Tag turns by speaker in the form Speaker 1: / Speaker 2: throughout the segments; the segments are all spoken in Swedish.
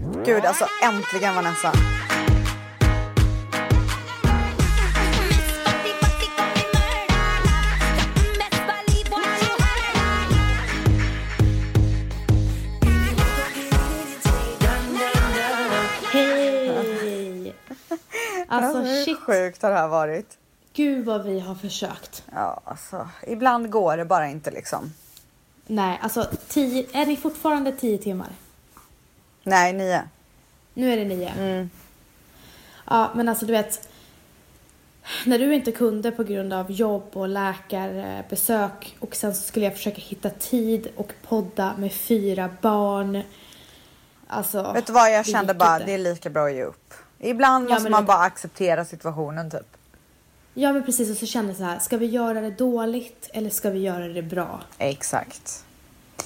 Speaker 1: Gud, alltså äntligen Vanessa.
Speaker 2: Hej! Alltså
Speaker 1: hur
Speaker 2: shit,
Speaker 1: sjukt har det här varit?
Speaker 2: gud vad vi har försökt.
Speaker 1: Ja, alltså, ibland går det bara inte liksom.
Speaker 2: Nej, alltså tio, är ni fortfarande tio timmar?
Speaker 1: Nej, nio.
Speaker 2: Nu är det nio.
Speaker 1: Mm.
Speaker 2: Ja, men alltså du vet. När du inte kunde på grund av jobb och läkarbesök och sen så skulle jag försöka hitta tid och podda med fyra barn. Alltså.
Speaker 1: Vet du vad, jag
Speaker 2: det
Speaker 1: kände
Speaker 2: gick
Speaker 1: bara
Speaker 2: inte.
Speaker 1: det är lika bra att ge upp. Ibland
Speaker 2: Ja,
Speaker 1: måste
Speaker 2: men
Speaker 1: man
Speaker 2: det-
Speaker 1: bara acceptera situationen typ.
Speaker 2: Ja, men precis. Och så kände jag så här, ska vi göra det dåligt eller ska vi göra det bra?
Speaker 1: Exakt.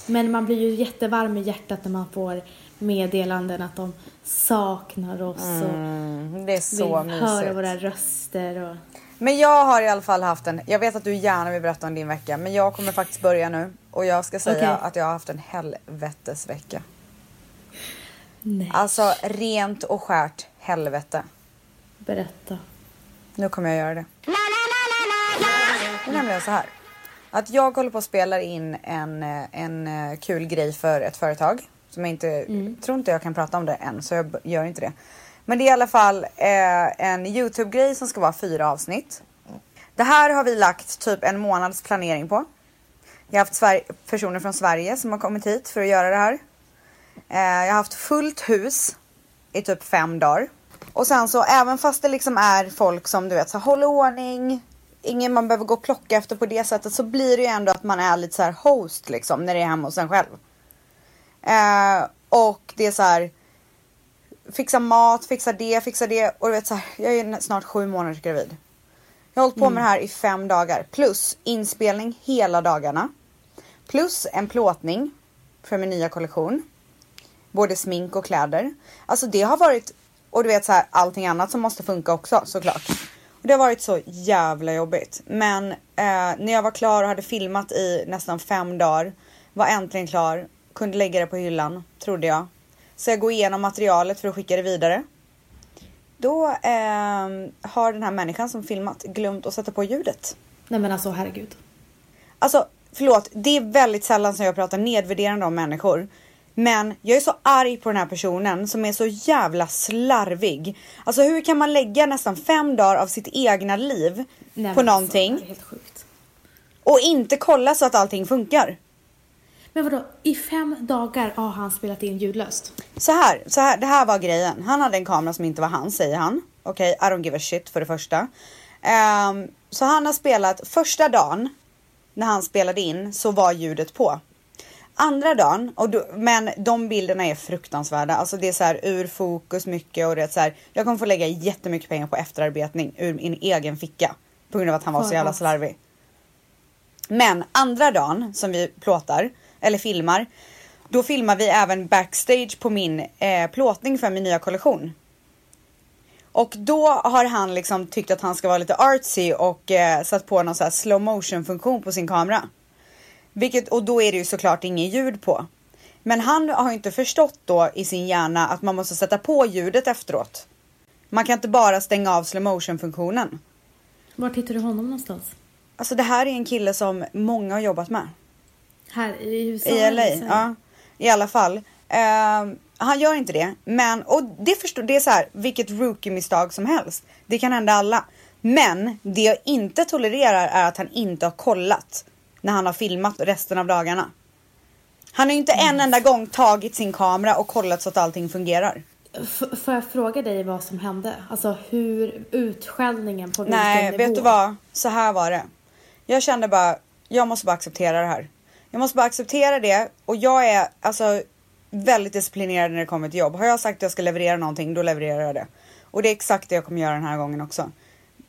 Speaker 2: Men man blir ju jättevarm i hjärtat när man får meddelanden att de saknar oss
Speaker 1: Mm, det är
Speaker 2: och
Speaker 1: så
Speaker 2: vill höra
Speaker 1: mysigt.
Speaker 2: våra röster. Och...
Speaker 1: Men jag har i alla fall haft en, jag vet att du gärna vill berätta om din vecka men jag kommer faktiskt börja nu och jag ska säga
Speaker 2: Okej.
Speaker 1: att jag har haft en helvetesvecka.
Speaker 2: Nej,
Speaker 1: Alltså rent och skärt helvete.
Speaker 2: berätta.
Speaker 1: Nu kommer jag göra det. Det är nämligen så här. Att jag håller på att spela in en, eh, en eh, kul grej för ett företag. Som jag inte, tror inte jag kan prata om det än så jag b- gör inte det. Men det är i alla fall eh, en Youtube-grej som ska vara fyra avsnitt. Det här har vi lagt typ en månads planering på. Jag har haft Sver- personer från Sverige som har kommit hit för att göra det här. Eh, jag har haft fullt hus i typ fem dagar. Och sen så även fast det liksom är folk som du vet så här, håller ordning, ingen man behöver gå och plocka efter på det sättet så blir det ju ändå att man är lite så här host liksom när det är hemma hos en själv. Eh, och det är så här fixa mat, fixa det, fixa det och du vet så här, jag är nä- snart sju månader gravid. Jag har hållit på med det här i fem dagar plus inspelning hela dagarna. Plus en plåtning för min nya kollektion både smink och kläder. Alltså det har varit, och du vet så här, allting annat som måste funka också såklart. Och det har varit så jävla jobbigt. Men eh, när jag var klar och hade filmat i nästan fem dagar, var äntligen klar, kunde lägga det på hyllan, trodde jag. Så jag går igenom materialet för att skicka det vidare. Då ehm, har den här människan som filmat glömt att sätta på ljudet.
Speaker 2: Nej men alltså herregud.
Speaker 1: Alltså förlåt, det är väldigt sällan som jag pratar nedvärderande om människor. Men jag är så arg på den här personen som är så jävla slarvig. Alltså hur kan man lägga nästan fem dagar av sitt egna liv
Speaker 2: Nej, men
Speaker 1: på
Speaker 2: alltså,
Speaker 1: någonting
Speaker 2: det är helt sjukt.
Speaker 1: och inte kolla så att allting funkar?
Speaker 2: Men vadå, i fem dagar har han spelat in ljudlöst.
Speaker 1: Så här, så här, det här var grejen. Han hade en kamera som inte var hans säger han. Okej, I don't give a shit för det första. Ehm, så han har spelat första dagen när han spelade in så var ljudet på. Andra dagen, och du, men de bilderna är fruktansvärda. Alltså det är så här ur fokus mycket och det är så här. Jag kommer få lägga jättemycket pengar på efterarbetning ur min egen ficka på grund av att han var så
Speaker 2: För
Speaker 1: jävla
Speaker 2: att-
Speaker 1: slarvig. Men andra dagen som vi plåtar eller filmar, då filmar vi även backstage på min eh, plåtning för min nya kollektion. Och då har han liksom tyckt att han ska vara lite artsy och eh, satt på någon så här slow motion funktion på sin kamera. Vilket, och då är det ju såklart ingen ljud på. Men han har ju inte förstått då i sin hjärna att man måste sätta på ljudet efteråt. Man kan inte bara stänga av slow motion funktionen.
Speaker 2: Vart hittar du honom någonstans?
Speaker 1: Alltså det här är en kille som många har jobbat med.
Speaker 2: Här i USA?
Speaker 1: I LA,
Speaker 2: eller så här?
Speaker 1: ja. I alla fall. Ehm, han gör inte det, men och det förstår det är så här vilket rookie misstag som helst. Det kan hända alla, men det jag inte tolererar är att han inte har kollat när han har filmat resten av dagarna. Han har ju inte en enda gång tagit sin kamera och kollat så att allting fungerar.
Speaker 2: F- får jag fråga dig vad som hände? Alltså hur utskällningen på vilken
Speaker 1: Nej,
Speaker 2: nivå?
Speaker 1: vet du vad? Så här var det. Jag kände bara, jag måste bara acceptera det här. Jag måste bara acceptera det och jag är alltså väldigt disciplinerad när det kommer till jobb. Har jag sagt att jag ska leverera någonting, då levererar jag det. Och det är exakt det jag kommer göra den här gången också.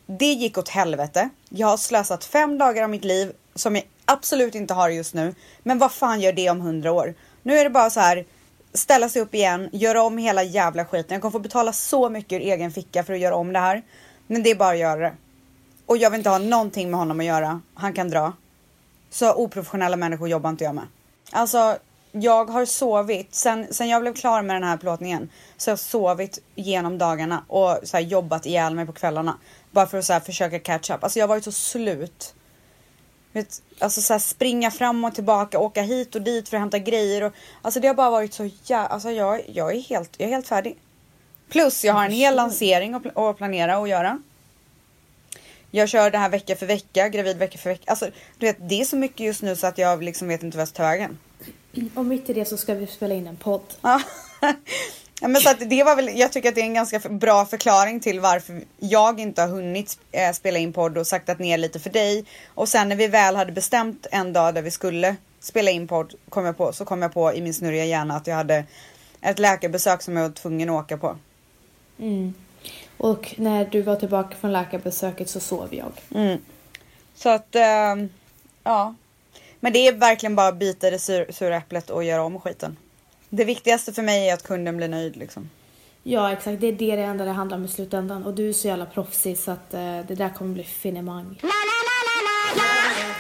Speaker 1: Det gick åt helvete. Jag har slösat fem dagar av mitt liv som jag absolut inte har just nu. Men vad fan gör det om hundra år? Nu är det bara så här ställa sig upp igen, göra om hela jävla skiten. Jag kommer få betala så mycket ur egen ficka för att göra om det här. Men det är bara att göra det. Och jag vill inte ha någonting med honom att göra. Han kan dra. Så oprofessionella människor jobbar inte jag med. Alltså, jag har sovit, sen, sen jag blev klar med den här plåtningen, så har jag sovit genom dagarna och så här, jobbat ihjäl mig på kvällarna. Bara för att så här, försöka catch up. Alltså jag har varit så slut. Vet, alltså så här, springa fram och tillbaka, åka hit och dit för att hämta grejer. Och, alltså det har bara varit så jä... Alltså jag, jag, är helt, jag är helt färdig. Plus jag har en hel lansering att, pl- att planera och göra. Jag kör det här vecka för vecka, gravid vecka för vecka. Alltså du vet, det är så mycket just nu så att jag liksom vet inte vad jag ska ta vägen.
Speaker 2: Och mitt i det så ska vi spela in en podd.
Speaker 1: Ja. Ja, men så att det var väl, jag tycker att det är en ganska för- bra förklaring till varför jag inte har hunnit eh, spela in podd och saktat ner lite för dig. Och sen när vi väl hade bestämt en dag där vi skulle spela in podd kom jag på, så kom jag på i min snurriga hjärna att jag hade ett läkarbesök som jag var tvungen att åka på.
Speaker 2: Mm. Och när du var tillbaka från läkarbesöket så sov jag.
Speaker 1: Mm. Så att, ehm, ja. Men det är verkligen bara att bita i det sur- sura äpplet och göra om skiten. Det viktigaste för mig är att kunden blir nöjd liksom.
Speaker 2: Ja, exakt. Det är det det enda det handlar om i slutändan. Och du är så jävla proffsig så att eh, det där kommer bli finemang.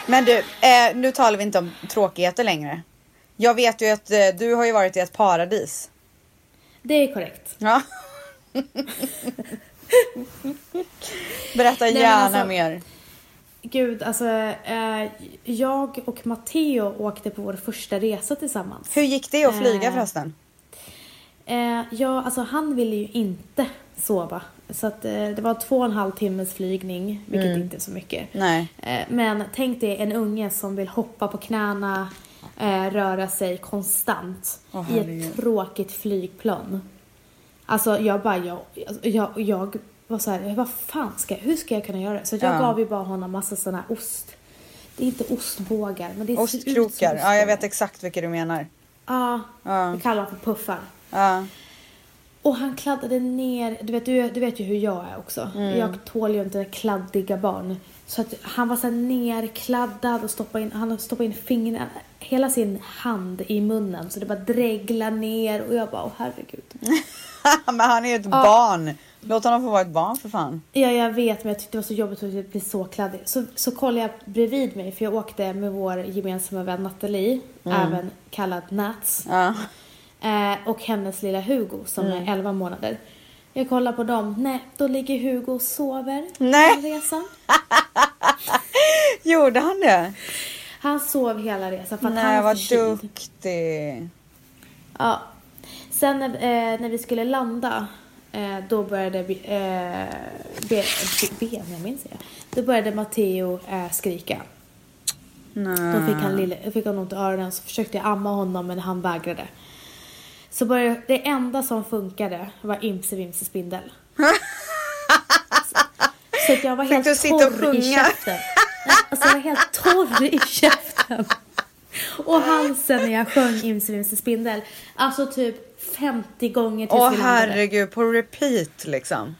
Speaker 1: Men du, eh, nu talar vi inte om tråkigheter längre. Jag vet ju att eh, du har ju varit i ett paradis.
Speaker 2: Det är korrekt.
Speaker 1: Ja. Berätta
Speaker 2: men
Speaker 1: gärna
Speaker 2: alltså-
Speaker 1: mer.
Speaker 2: Gud, alltså. Eh, jag och Matteo åkte på vår första resa tillsammans.
Speaker 1: Hur gick det att flyga
Speaker 2: Eh.
Speaker 1: förresten?
Speaker 2: Eh, ja, alltså han ville ju inte sova. Så att, eh, det var två och en halv timmes flygning, vilket inte är så mycket.
Speaker 1: Nej.
Speaker 2: Eh, men tänk dig en unge som vill hoppa på knäna, eh, röra sig konstant
Speaker 1: Åh,
Speaker 2: i
Speaker 1: herregud.
Speaker 2: ett tråkigt flygplan. Alltså jag bara, jag, jag, jag var så här, vad fan ska jag, hur ska jag kunna göra det? Så jag
Speaker 1: Ja.
Speaker 2: gav ju bara honom massa sådana här ost, det är inte ostbågar, men det ser ut som
Speaker 1: Ostkrokar. Ja, jag vet
Speaker 2: ostbågar.
Speaker 1: exakt vilka du menar.
Speaker 2: Ja,
Speaker 1: Ja.
Speaker 2: vi kallar dem för puffar.
Speaker 1: Ja.
Speaker 2: Och han kladdade ner, du vet, du, du vet ju hur jag är också. Jag tål ju inte kladdiga barn. Så att han var så här nerkladdad och stoppade in, han stoppade in fingrarna, hela sin hand i munnen så det bara dreglade ner och jag bara åh herregud.
Speaker 1: Men han är ju ett barn. Låt honom få vara ett barn för fan.
Speaker 2: Ja jag vet men jag tyckte det var så jobbigt att det blev så kladdigt. Så, så kollade jag bredvid mig för jag åkte med vår gemensamma vän Nathalie, även kallad Nats.
Speaker 1: Ja.
Speaker 2: Eh, och hennes lilla Hugo som
Speaker 1: Mm.
Speaker 2: är 11 månader. Jag kollar på dem. Nej, då ligger Hugo och sover
Speaker 1: Nej.
Speaker 2: hela resan.
Speaker 1: Gjorde han det?
Speaker 2: Han sov hela resan för att
Speaker 1: Nej,
Speaker 2: han var
Speaker 1: vad
Speaker 2: förkyld.
Speaker 1: duktig.
Speaker 2: Ja. Sen när, eh, när vi skulle landa, eh, då började Be- eh, Be- Be- Benjamin, säger jag. Då började Matteo eh, skrika.
Speaker 1: Nej.
Speaker 2: Då fick han, lille, fick han ont i öronen så försökte jag amma honom men han vägrade. Så började, det enda som funkade var Imse Vimse Spindel. Så- Så att jag var
Speaker 1: Fick
Speaker 2: helt
Speaker 1: du sitta och
Speaker 2: torr i
Speaker 1: sjunga?
Speaker 2: käften. Alltså jag var helt torr i käften. Och halsen när jag sjöng Imse Vimse Spindel. Alltså typ 50 gånger tills
Speaker 1: Åh
Speaker 2: vi landade.
Speaker 1: herregud, på repeat liksom.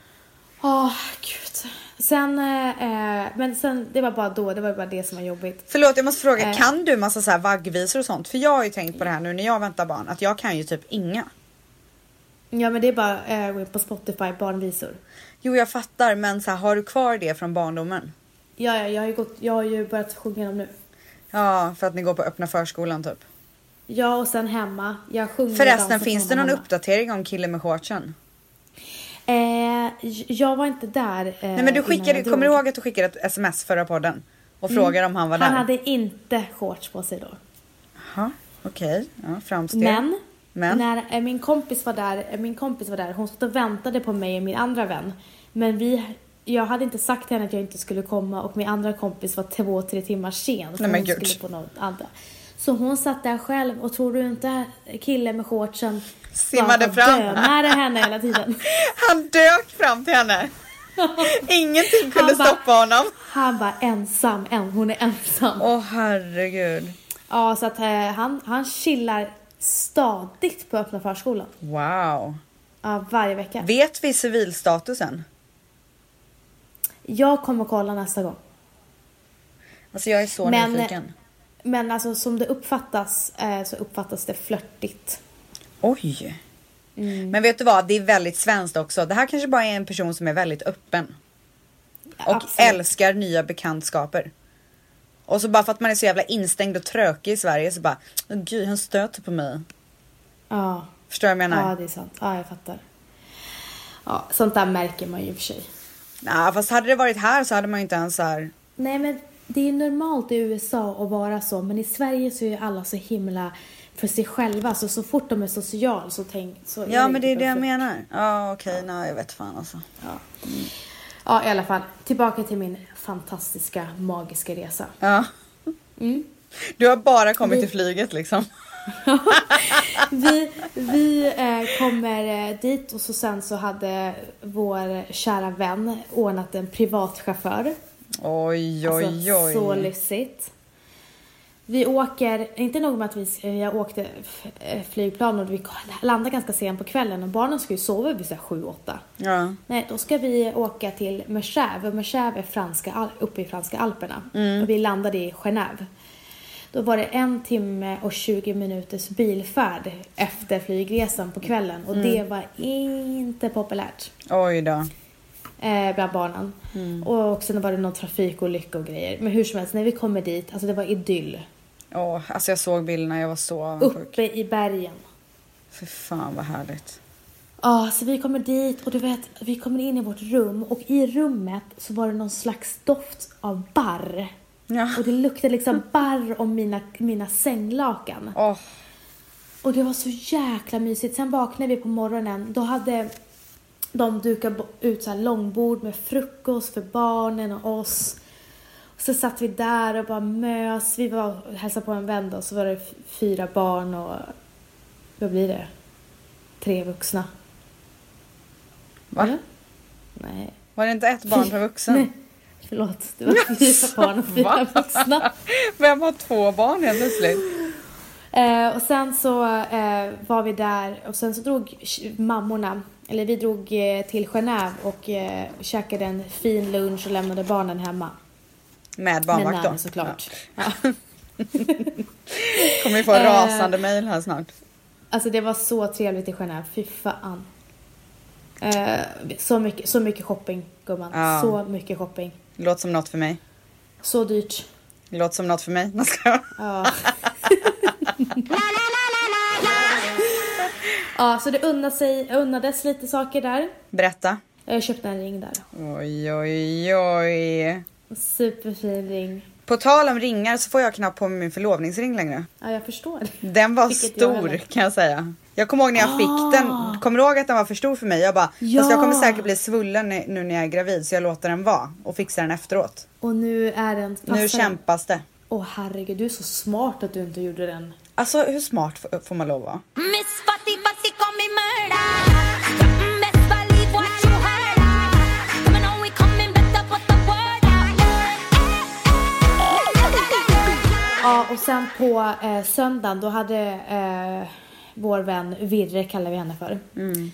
Speaker 2: Åh gud. Sen, eh, eh, men sen, det var bara då, det var bara det som var jobbigt.
Speaker 1: Förlåt, jag måste fråga,
Speaker 2: Eh.
Speaker 1: kan du massa så här vaggvisor och sånt? För jag har ju tänkt på det här nu när jag väntar barn, att jag kan ju typ inga.
Speaker 2: Ja men det är bara eh, gå in på Spotify, barnvisor.
Speaker 1: Jo, jag fattar, men så här, har du kvar det från barndomen?
Speaker 2: Ja, ja jag, har ju gått, jag har ju börjat sjunga dem nu.
Speaker 1: Ja, för att ni går på öppna förskolan typ.
Speaker 2: Ja, och sen hemma. Jag sjunger och dansar
Speaker 1: Förresten,
Speaker 2: för
Speaker 1: finns det
Speaker 2: honom
Speaker 1: någon
Speaker 2: hemma.
Speaker 1: uppdatering om killen med shortsen?
Speaker 2: Eh, j- jag var inte där. Eh,
Speaker 1: Nej, men du
Speaker 2: innan
Speaker 1: skickade,
Speaker 2: jag
Speaker 1: kommer du
Speaker 2: drog.
Speaker 1: ihåg att du skickade ett sms förra podden? Och frågade om han var
Speaker 2: Han
Speaker 1: där?
Speaker 2: hade inte shorts på sig då.
Speaker 1: Jaha, okej. Ja, framsteg.
Speaker 2: Men,
Speaker 1: Men?
Speaker 2: när eh, min kompis var där, eh, min kompis var där, hon satt och väntade på mig och min andra vän. Men vi, jag hade inte sagt till henne att jag inte skulle komma och min andra kompis var två, tre timmar sen. för
Speaker 1: Nej, men
Speaker 2: hon
Speaker 1: gud.
Speaker 2: skulle på något andra. Så hon satt där själv och tror du inte killen med shortsen
Speaker 1: Simmade
Speaker 2: bara
Speaker 1: fram.
Speaker 2: dönade henne hela tiden?
Speaker 1: Han dök fram till henne. Ingenting kunde
Speaker 2: Han bara-
Speaker 1: stoppa honom.
Speaker 2: Han bara ensam, en, hon är ensam.
Speaker 1: Åh herregud.
Speaker 2: Ja, så att eh, han, han chillar stadigt på öppna förskolan.
Speaker 1: Wow.
Speaker 2: Ja, varje vecka.
Speaker 1: Vet vi civilstatusen?
Speaker 2: Jag kommer kolla nästa gång.
Speaker 1: Alltså jag är så
Speaker 2: Men-
Speaker 1: nyfiken.
Speaker 2: Men alltså som det uppfattas eh, så uppfattas det flörtigt.
Speaker 1: Oj.
Speaker 2: Mm.
Speaker 1: Men vet du vad, det är väldigt svenskt också. Det här kanske bara är en person som är väldigt öppen. Och
Speaker 2: Absolut.
Speaker 1: älskar nya bekantskaper. Och så bara för att man är så jävla instängd och trökig i Sverige så bara, "Åh, gud han stöter på mig.
Speaker 2: Ja,
Speaker 1: Förstår du vad jag menar?
Speaker 2: ja det är sant. Ja, jag fattar. Ja, sånt där märker man ju i och för sig.
Speaker 1: Nej, fast hade det varit här så hade man ju inte ens så här.
Speaker 2: Nej, men det är normalt i USA att vara så, men i Sverige så är ju alla så himla för sig själva. Så, så fort de är social så tänk... Så
Speaker 1: Ja, men det är det jag
Speaker 2: så-
Speaker 1: menar. Ja, okej, nej, jag vet fan alltså.
Speaker 2: Ja. ja, i alla fall. Tillbaka till min fantastiska, magiska resa.
Speaker 1: Ja.
Speaker 2: Mm.
Speaker 1: Du har bara kommit till flyget liksom.
Speaker 2: Vi, vi eh, kommer eh, dit och så sen så hade vår kära vän ordnat en privatchaufför.
Speaker 1: Oj,
Speaker 2: Alltså,
Speaker 1: oj, oj.
Speaker 2: så lyxigt. Vi åker, inte nog med att vi, jag åkte f- eh, flygplan och vi landade ganska sent på kvällen och barnen ska ju sova vid 7-8.
Speaker 1: ja.
Speaker 2: Nej, då ska vi åka till Merchève och Merchève är franska, al- uppe i franska alperna. Och vi landade i Genève. Då var det en timme och 20 minuters bilfärd efter flygresan på kvällen och det var inte populärt
Speaker 1: Oj då.
Speaker 2: eh, bland barnen. Och sen var det någon trafikolycka och grejer. Men hur som helst, när vi kommer dit, alltså det var idyll.
Speaker 1: Åh, alltså jag såg bilderna, jag var så avundsjuk.
Speaker 2: Uppe i bergen.
Speaker 1: Fy fan vad härligt.
Speaker 2: Ja, så vi kommer dit och du vet, vi kommer in i vårt rum och i rummet så var det någon slags doft av barr.
Speaker 1: Ja.
Speaker 2: Och det luktade liksom barr om mina, mina sänglakan.
Speaker 1: Åh,
Speaker 2: Och det var så jäkla mysigt. Sen vaknade vi på morgonen. Då hade de dukat bo- ut så här långbord med frukost för barnen och oss. Och så satt vi där och bara mös. Vi var och hälsade på en vän då, så var det f- fyra barn och vad blir det? Tre vuxna.
Speaker 1: va?
Speaker 2: Eller? Nej.
Speaker 1: Var det inte ett barn per vuxen?
Speaker 2: Nej. Förlåt, det var fyra barn och fyra vuxna.
Speaker 1: Vem har två barn helt plötsligt?
Speaker 2: Eh, och sen så eh, var vi där och sen så drog sh- mammorna, eller vi drog eh, till Genève och eh, käkade en fin lunch och lämnade barnen hemma.
Speaker 1: Med
Speaker 2: Med
Speaker 1: barnvakt
Speaker 2: Nanny
Speaker 1: då?
Speaker 2: såklart.
Speaker 1: Ja.
Speaker 2: Ja.
Speaker 1: Kommer vi få
Speaker 2: Eh.
Speaker 1: rasande mejl här snart.
Speaker 2: Alltså det var så trevligt i Genève, fy fan. Eh, så, mycket, så mycket shopping gumman,
Speaker 1: Ja.
Speaker 2: så mycket shopping.
Speaker 1: Låter som något för mig.
Speaker 2: Så dyrt.
Speaker 1: Låter som något för mig. Jag skojar.
Speaker 2: Ja. ja, så det unnade sig, unnades lite saker där.
Speaker 1: Berätta.
Speaker 2: Jag köpte en ring där.
Speaker 1: Oj, oj, oj.
Speaker 2: En Superfin ring.
Speaker 1: På tal om ringar så får jag knappt på mig min förlovningsring längre.
Speaker 2: Ja, jag förstår.
Speaker 1: Den var
Speaker 2: Vilket jag
Speaker 1: stor
Speaker 2: heller. Ah.
Speaker 1: kan jag säga. Jag kommer ihåg när jag fick den. Kommer du ihåg att den var för stor för mig? Jag bara,
Speaker 2: Ja.
Speaker 1: fast jag kommer säkert bli svullen när- nu när jag är gravid så jag låter den vara och fixar den efteråt.
Speaker 2: Och nu är den...
Speaker 1: nu kämpas det.
Speaker 2: Åh herregud, du är så smart att du inte gjorde den.
Speaker 1: Alltså hur smart f- får man lov att vara?
Speaker 3: Miss Fatty Fatty call me murder. Mm, Best believe what you heard. Coming on, we coming better, put the word out.
Speaker 2: Ja, och sen på eh, söndagen då hade eh, vår vän Virre, kallar vi henne för.
Speaker 1: Mm.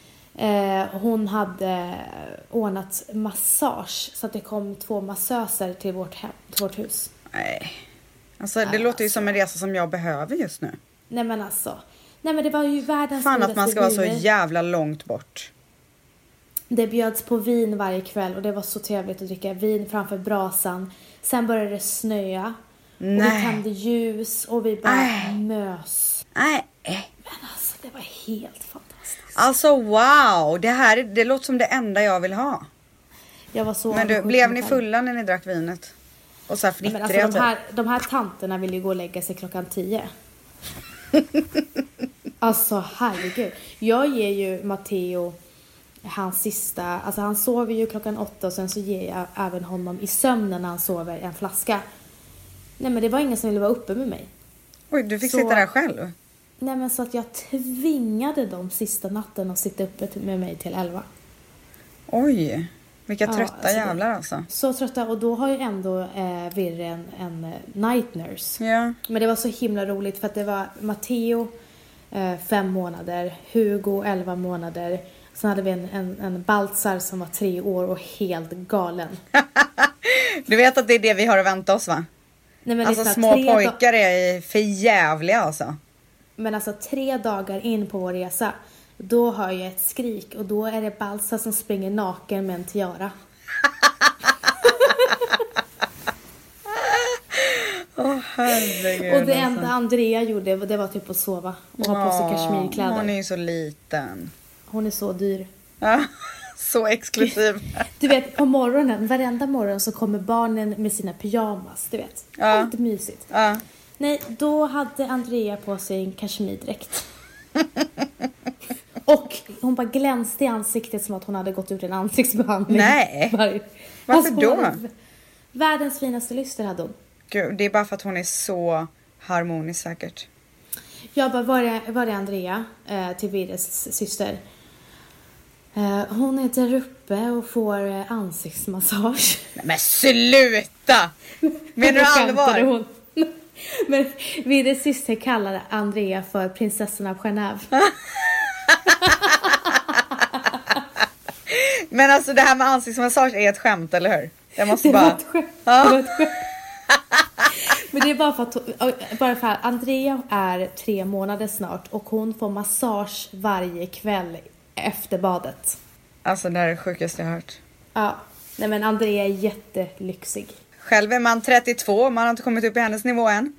Speaker 2: Eh, hon hade ordnat massage så att det kom två massöser till vårt, hem, till vårt hus.
Speaker 1: Nej. Alltså det låter ju som en resa som jag behöver just nu.
Speaker 2: Nej men alltså. Nej men det var ju världens
Speaker 1: Fan att man
Speaker 2: godaste
Speaker 1: ska vara så
Speaker 2: viner.
Speaker 1: jävla långt bort.
Speaker 2: Det bjöds på vin varje kväll och det var så trevligt att dricka vin framför brasan. Sen började det snöa. Och
Speaker 1: Nej.
Speaker 2: vi tände ljus och vi bara
Speaker 1: Nej.
Speaker 2: mös.
Speaker 1: Nej.
Speaker 2: Men alltså det var helt fantastiskt.
Speaker 1: Alltså wow, det här är- det låter som det enda jag vill ha.
Speaker 2: Jag var så
Speaker 1: Men du,
Speaker 2: avundsjuk
Speaker 1: blev
Speaker 2: på
Speaker 1: ni
Speaker 2: henne.
Speaker 1: fulla när ni drack vinet? Och så här
Speaker 2: Nej, Men
Speaker 1: fnittriga
Speaker 2: alltså, de,
Speaker 1: typ?
Speaker 2: här, de här tanterna ville ju gå och lägga sig klockan tio. alltså herregud. Jag ger ju Matteo hans sista, alltså han sover ju klockan åtta och sen så ger jag även honom i sömnen när han sover en flaska. Nej men det var ingen som ville vara uppe med mig.
Speaker 1: Oj, du fick
Speaker 2: Så-
Speaker 1: sitta där själv?
Speaker 2: Nej men så att jag tvingade dem sista natten att sitta uppe till- med mig till elva.
Speaker 1: Oj, vilka
Speaker 2: Ja,
Speaker 1: trötta
Speaker 2: alltså det-
Speaker 1: jävlar alltså.
Speaker 2: Så trötta och då har ju ändå eh, Virre en, en eh, night nurse.
Speaker 1: Ja.
Speaker 2: Men det var så himla roligt för att det var Matteo eh, fem månader, Hugo elva månader. Sen hade vi en, en, en Baltzar som var tre år och helt galen.
Speaker 1: Du vet att det är det vi har att vänta oss va?
Speaker 2: Nej, men
Speaker 1: alltså
Speaker 2: lyssna,
Speaker 1: små
Speaker 2: tre da-
Speaker 1: pojkar är för jävliga alltså.
Speaker 2: Men alltså tre dagar in på vår resa, då hör jag ett skrik och då är det Baltzar som springer naken med en tiara.
Speaker 1: Åh herregud.
Speaker 2: Och
Speaker 1: alltså.
Speaker 2: det enda Andrea gjorde det var typ att sova och ha på sig
Speaker 1: Ja,
Speaker 2: kashmirkläder.
Speaker 1: Hon är ju så liten.
Speaker 2: så dyr.
Speaker 1: Ja, så exklusiv.
Speaker 2: Du vet på morgonen, varenda morgon så kommer barnen med sina pyjamas, du vet.
Speaker 1: Ja.
Speaker 2: Lite mysigt.
Speaker 1: Ja.
Speaker 2: Nej, då hade Andrea på sig en kashmirdräkt. och hon bara glänste i ansiktet som att hon hade gått ut en ansiktsbehandling.
Speaker 1: Nej.
Speaker 2: Varje-
Speaker 1: Varför
Speaker 2: hon
Speaker 1: då?
Speaker 2: hade- Världens finaste lyster hade hon.
Speaker 1: Gud, det är bara för att hon är så harmonisk säkert.
Speaker 2: Jag bara, var är, var är Andrea? Eh, till Virres syster. Eh, hon är där uppe och får eh, ansiktsmassage.
Speaker 1: Nej, men sluta! Menar du
Speaker 2: Då skämtade
Speaker 1: allvar?
Speaker 2: Hon. Men Virres syster kallade Andrea för prinsessan av Genève.
Speaker 1: Men alltså det här med ansiktsmassage är ett skämt, eller hur? Jag måste
Speaker 2: Det var
Speaker 1: bara...
Speaker 2: ett skämt.
Speaker 1: Ja.
Speaker 2: Det var ett skämt. Men det är bara för att hon- bara för att Andrea är tre månader snart och hon får massage varje kväll efter badet.
Speaker 1: Alltså det här är det sjukaste jag har hört.
Speaker 2: Ja, nej men Andrea är jättelyxig.
Speaker 1: Själv är man 32, man har inte kommit upp i hennes nivå än.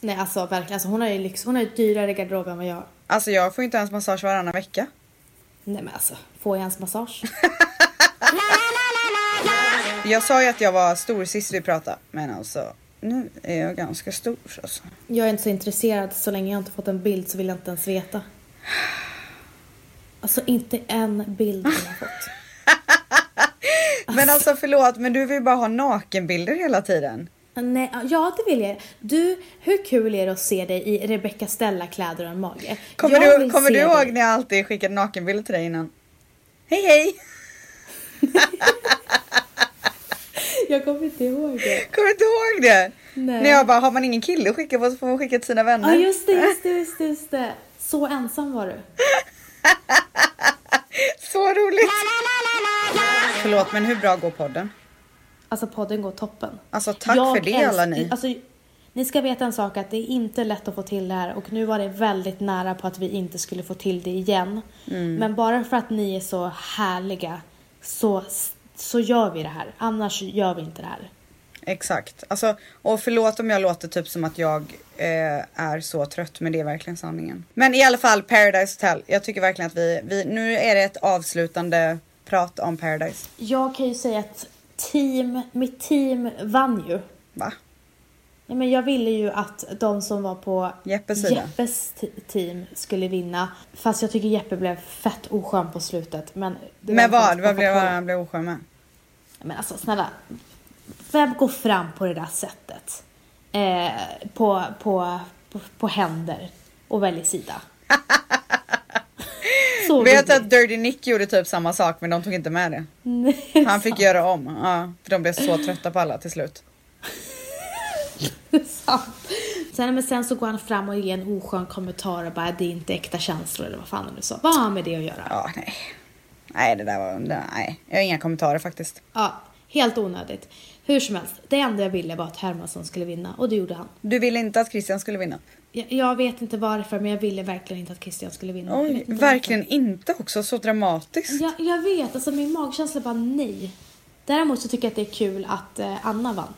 Speaker 2: Nej alltså verkligen, alltså, hon har ju lyx, hon har ju dyrare garderob än vad jag.
Speaker 1: Alltså jag får ju inte ens massage varannan vecka.
Speaker 2: Nej men alltså, får jag ens massage?
Speaker 1: Jag sa ju att jag var stor sist vi pratade, men alltså nu är jag ganska stor alltså.
Speaker 2: Jag är inte så intresserad, så länge jag inte fått en bild så vill jag inte ens veta. Alltså inte en bild har jag fått.
Speaker 1: Men alltså förlåt, men du vill ju bara ha nakenbilder hela tiden.
Speaker 2: Nej, ja det vill jag. Du, hur kul är det att se dig i Rebecca Stella-kläder och en mage?
Speaker 1: Kommer
Speaker 2: jag
Speaker 1: du,
Speaker 2: vill
Speaker 1: kommer
Speaker 2: se
Speaker 1: du
Speaker 2: dig-
Speaker 1: ihåg när jag alltid skickade nakenbilder till dig innan? Hej hej!
Speaker 2: Jag kommer inte ihåg det.
Speaker 1: Kommer du inte ihåg det?
Speaker 2: Nej.
Speaker 1: När jag bara, har man ingen kille att skicka på så får man skicka till sina
Speaker 2: Ja
Speaker 1: vänner.
Speaker 2: just det, just det, just det, just det. Så ensam var du.
Speaker 1: Så roligt! Förlåt, men hur bra går podden?
Speaker 2: Alltså podden går toppen.
Speaker 1: Alltså, tack för det,
Speaker 2: älsk-
Speaker 1: alla ni.
Speaker 2: Alltså, ni ska veta en sak att det är inte lätt att få till det här och nu var det väldigt nära på att vi inte skulle få till det igen.
Speaker 1: Mm.
Speaker 2: Men bara för att ni är så härliga så, så gör vi det här. Annars gör vi inte det här.
Speaker 1: Exakt. Alltså, och förlåt om jag låter typ som att jag eh, är så trött men det är verkligen sanningen. Men i alla fall Paradise Hotel. Jag tycker verkligen att vi, vi nu är det ett avslutande prat om Paradise.
Speaker 2: Jag kan ju säga att team, mitt team vann ju.
Speaker 1: Va?
Speaker 2: Ja, men jag ville ju att de som var på
Speaker 1: Jeppes sida.
Speaker 2: Jeppes t- team skulle vinna. Fast jag tycker Jeppe blev fett oskön på slutet. Men, det
Speaker 1: Men
Speaker 2: var
Speaker 1: vad? Vad blev vad han blev oskön med?
Speaker 2: Men alltså snälla, vem går fram på det där sättet? Eh, på, på, på, på händer och väljer sida. Så
Speaker 1: Vet du
Speaker 2: roligt.
Speaker 1: att Dirty Nick gjorde typ samma sak men de tog inte med det.
Speaker 2: Nej,
Speaker 1: Han fick göra om. Ja, för de blev så trötta på alla till slut.
Speaker 2: sant. Sen, men sen så går han fram och ger en oskön kommentar och bara det är inte äkta känslor eller vad fan han nu sa. Vad har han med det att göra? Ja.
Speaker 1: Ja, nej. Nej, det där var... Nej, jag har inga kommentarer faktiskt.
Speaker 2: helt onödigt. Hur som helst, det enda jag ville var att Hermansson skulle vinna och det gjorde han.
Speaker 1: Du ville inte att Christian skulle vinna?
Speaker 2: Jag, jag vet inte varför men jag ville verkligen inte att Christian skulle vinna. Jag
Speaker 1: Oj,
Speaker 2: vet inte varför.
Speaker 1: verkligen inte också. Så dramatiskt.
Speaker 2: Jag, jag vet, alltså min magkänsla bara nej. Däremot så tycker jag att det är kul att eh, Anna vann.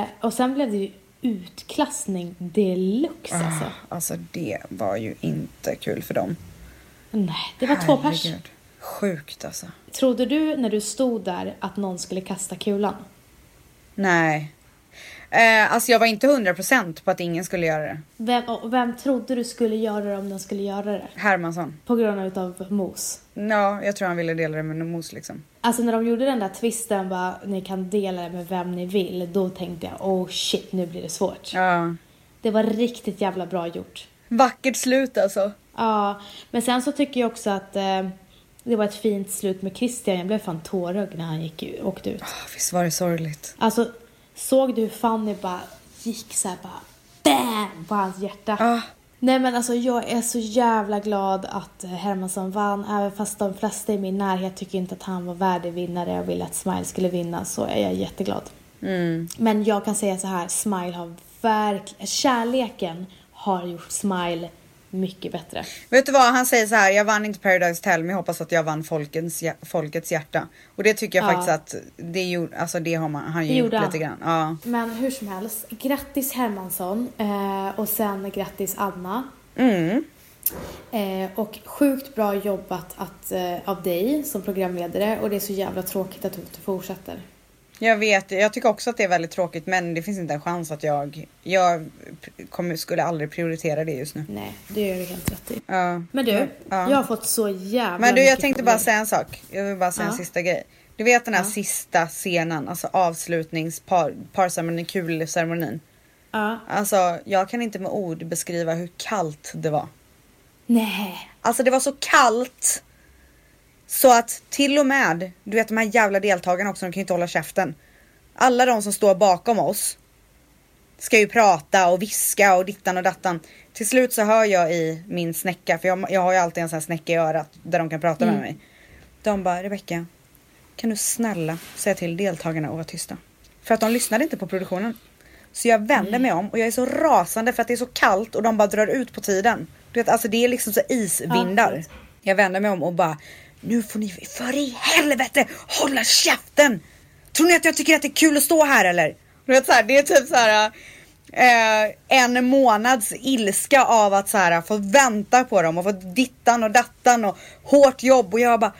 Speaker 2: Eh, och sen blev det ju utklassning deluxe alltså.
Speaker 1: Alltså det var ju inte kul för dem.
Speaker 2: Nej, det var två pers.
Speaker 1: Herregud. Sjukt alltså.
Speaker 2: Trodde du när du stod där att någon skulle kasta kulan?
Speaker 1: Nej. Eh, alltså jag var inte 100% på att ingen skulle göra det.
Speaker 2: Vem, och vem trodde du skulle göra det om den skulle göra det?
Speaker 1: Hermansson.
Speaker 2: På grund utav mos.
Speaker 1: Ja, jag tror han ville dela det med Mos liksom.
Speaker 2: Alltså när de gjorde den där twisten bara, ni kan dela det med vem ni vill. Då tänkte jag, oh shit, nu blir det svårt.
Speaker 1: Ja.
Speaker 2: Det var riktigt jävla bra gjort.
Speaker 1: Vackert slut alltså.
Speaker 2: Ja, men sen så tycker jag också att eh, det var ett fint slut med Christian. Jag blev fan tårögd när han gick, ut- åkte ut.
Speaker 1: Oh, visst var det sorgligt.
Speaker 2: Alltså, såg du hur Fanny bara gick så här bara BAM! på hans hjärta.
Speaker 1: Ja.
Speaker 2: Nej men alltså jag är så jävla glad att eh, Hermansson vann. Även fast de flesta i min närhet tycker inte att han var värdig vinnare och ville att Smile skulle vinna så är jag jätteglad. Men jag kan säga så här, Smile har verkligen, kärleken har gjort Smile mycket bättre.
Speaker 1: Vet du vad, han säger så här, jag vann inte Paradise Hotel men jag hoppas att jag vann folkens, hjär- folkets hjärta. Och det tycker jag
Speaker 2: Ja.
Speaker 1: faktiskt att det, gjorde, alltså det har man, han ju
Speaker 2: Det
Speaker 1: gjort
Speaker 2: gjorde han.
Speaker 1: lite grann. Ja.
Speaker 2: Men hur som helst, grattis Hermansson eh, och sen grattis Anna.
Speaker 1: Mm.
Speaker 2: Eh, och sjukt bra jobbat att, eh, av dig som programledare och det är så jävla tråkigt att du inte fortsätter.
Speaker 1: Jag vet, jag tycker också att det är väldigt tråkigt men det finns inte en chans att jag, jag p- kommer, skulle aldrig prioritera det just nu.
Speaker 2: Nej, det gör du helt rätt i.
Speaker 1: Ja.
Speaker 2: Men du,
Speaker 1: Mm, Ja.
Speaker 2: jag har fått så jävla
Speaker 1: Men du jag
Speaker 2: mycket
Speaker 1: tänkte
Speaker 2: frågor.
Speaker 1: bara säga en sak. Jag vill bara säga en
Speaker 2: Ja.
Speaker 1: sista grej. Du vet den här sista scenen, alltså avslutningspar, parceremonin, kulceremonin.
Speaker 2: Ja.
Speaker 1: Alltså jag kan inte med ord beskriva hur kallt det var.
Speaker 2: Nej.
Speaker 1: Alltså det var så kallt. Så att till och med, du vet de här jävla deltagarna också, de kan ju inte hålla käften. Alla de som står bakom oss. Ska ju prata och viska och dittan och dattan. Till slut så hör jag i min snäcka, för jag, jag har ju alltid en sån här snäcka i örat där de kan prata med mig. De bara, Rebecka, kan du snälla säga till deltagarna att vara tysta? För att de lyssnade inte på produktionen. Så jag vänder mig om och jag är så rasande för att det är så kallt och de bara drar ut på tiden. Du vet, alltså det är liksom så
Speaker 2: Ja,
Speaker 1: isvindar.
Speaker 2: precis.
Speaker 1: Jag vänder mig om och bara, nu får ni för i helvete hålla käften! Tror ni att jag tycker att det är kul att stå här eller? Du vet, så här, det är typ så här. Eh, en månads ilska av att så här, få vänta på dem och få dittan och dattan och hårt jobb och jag bara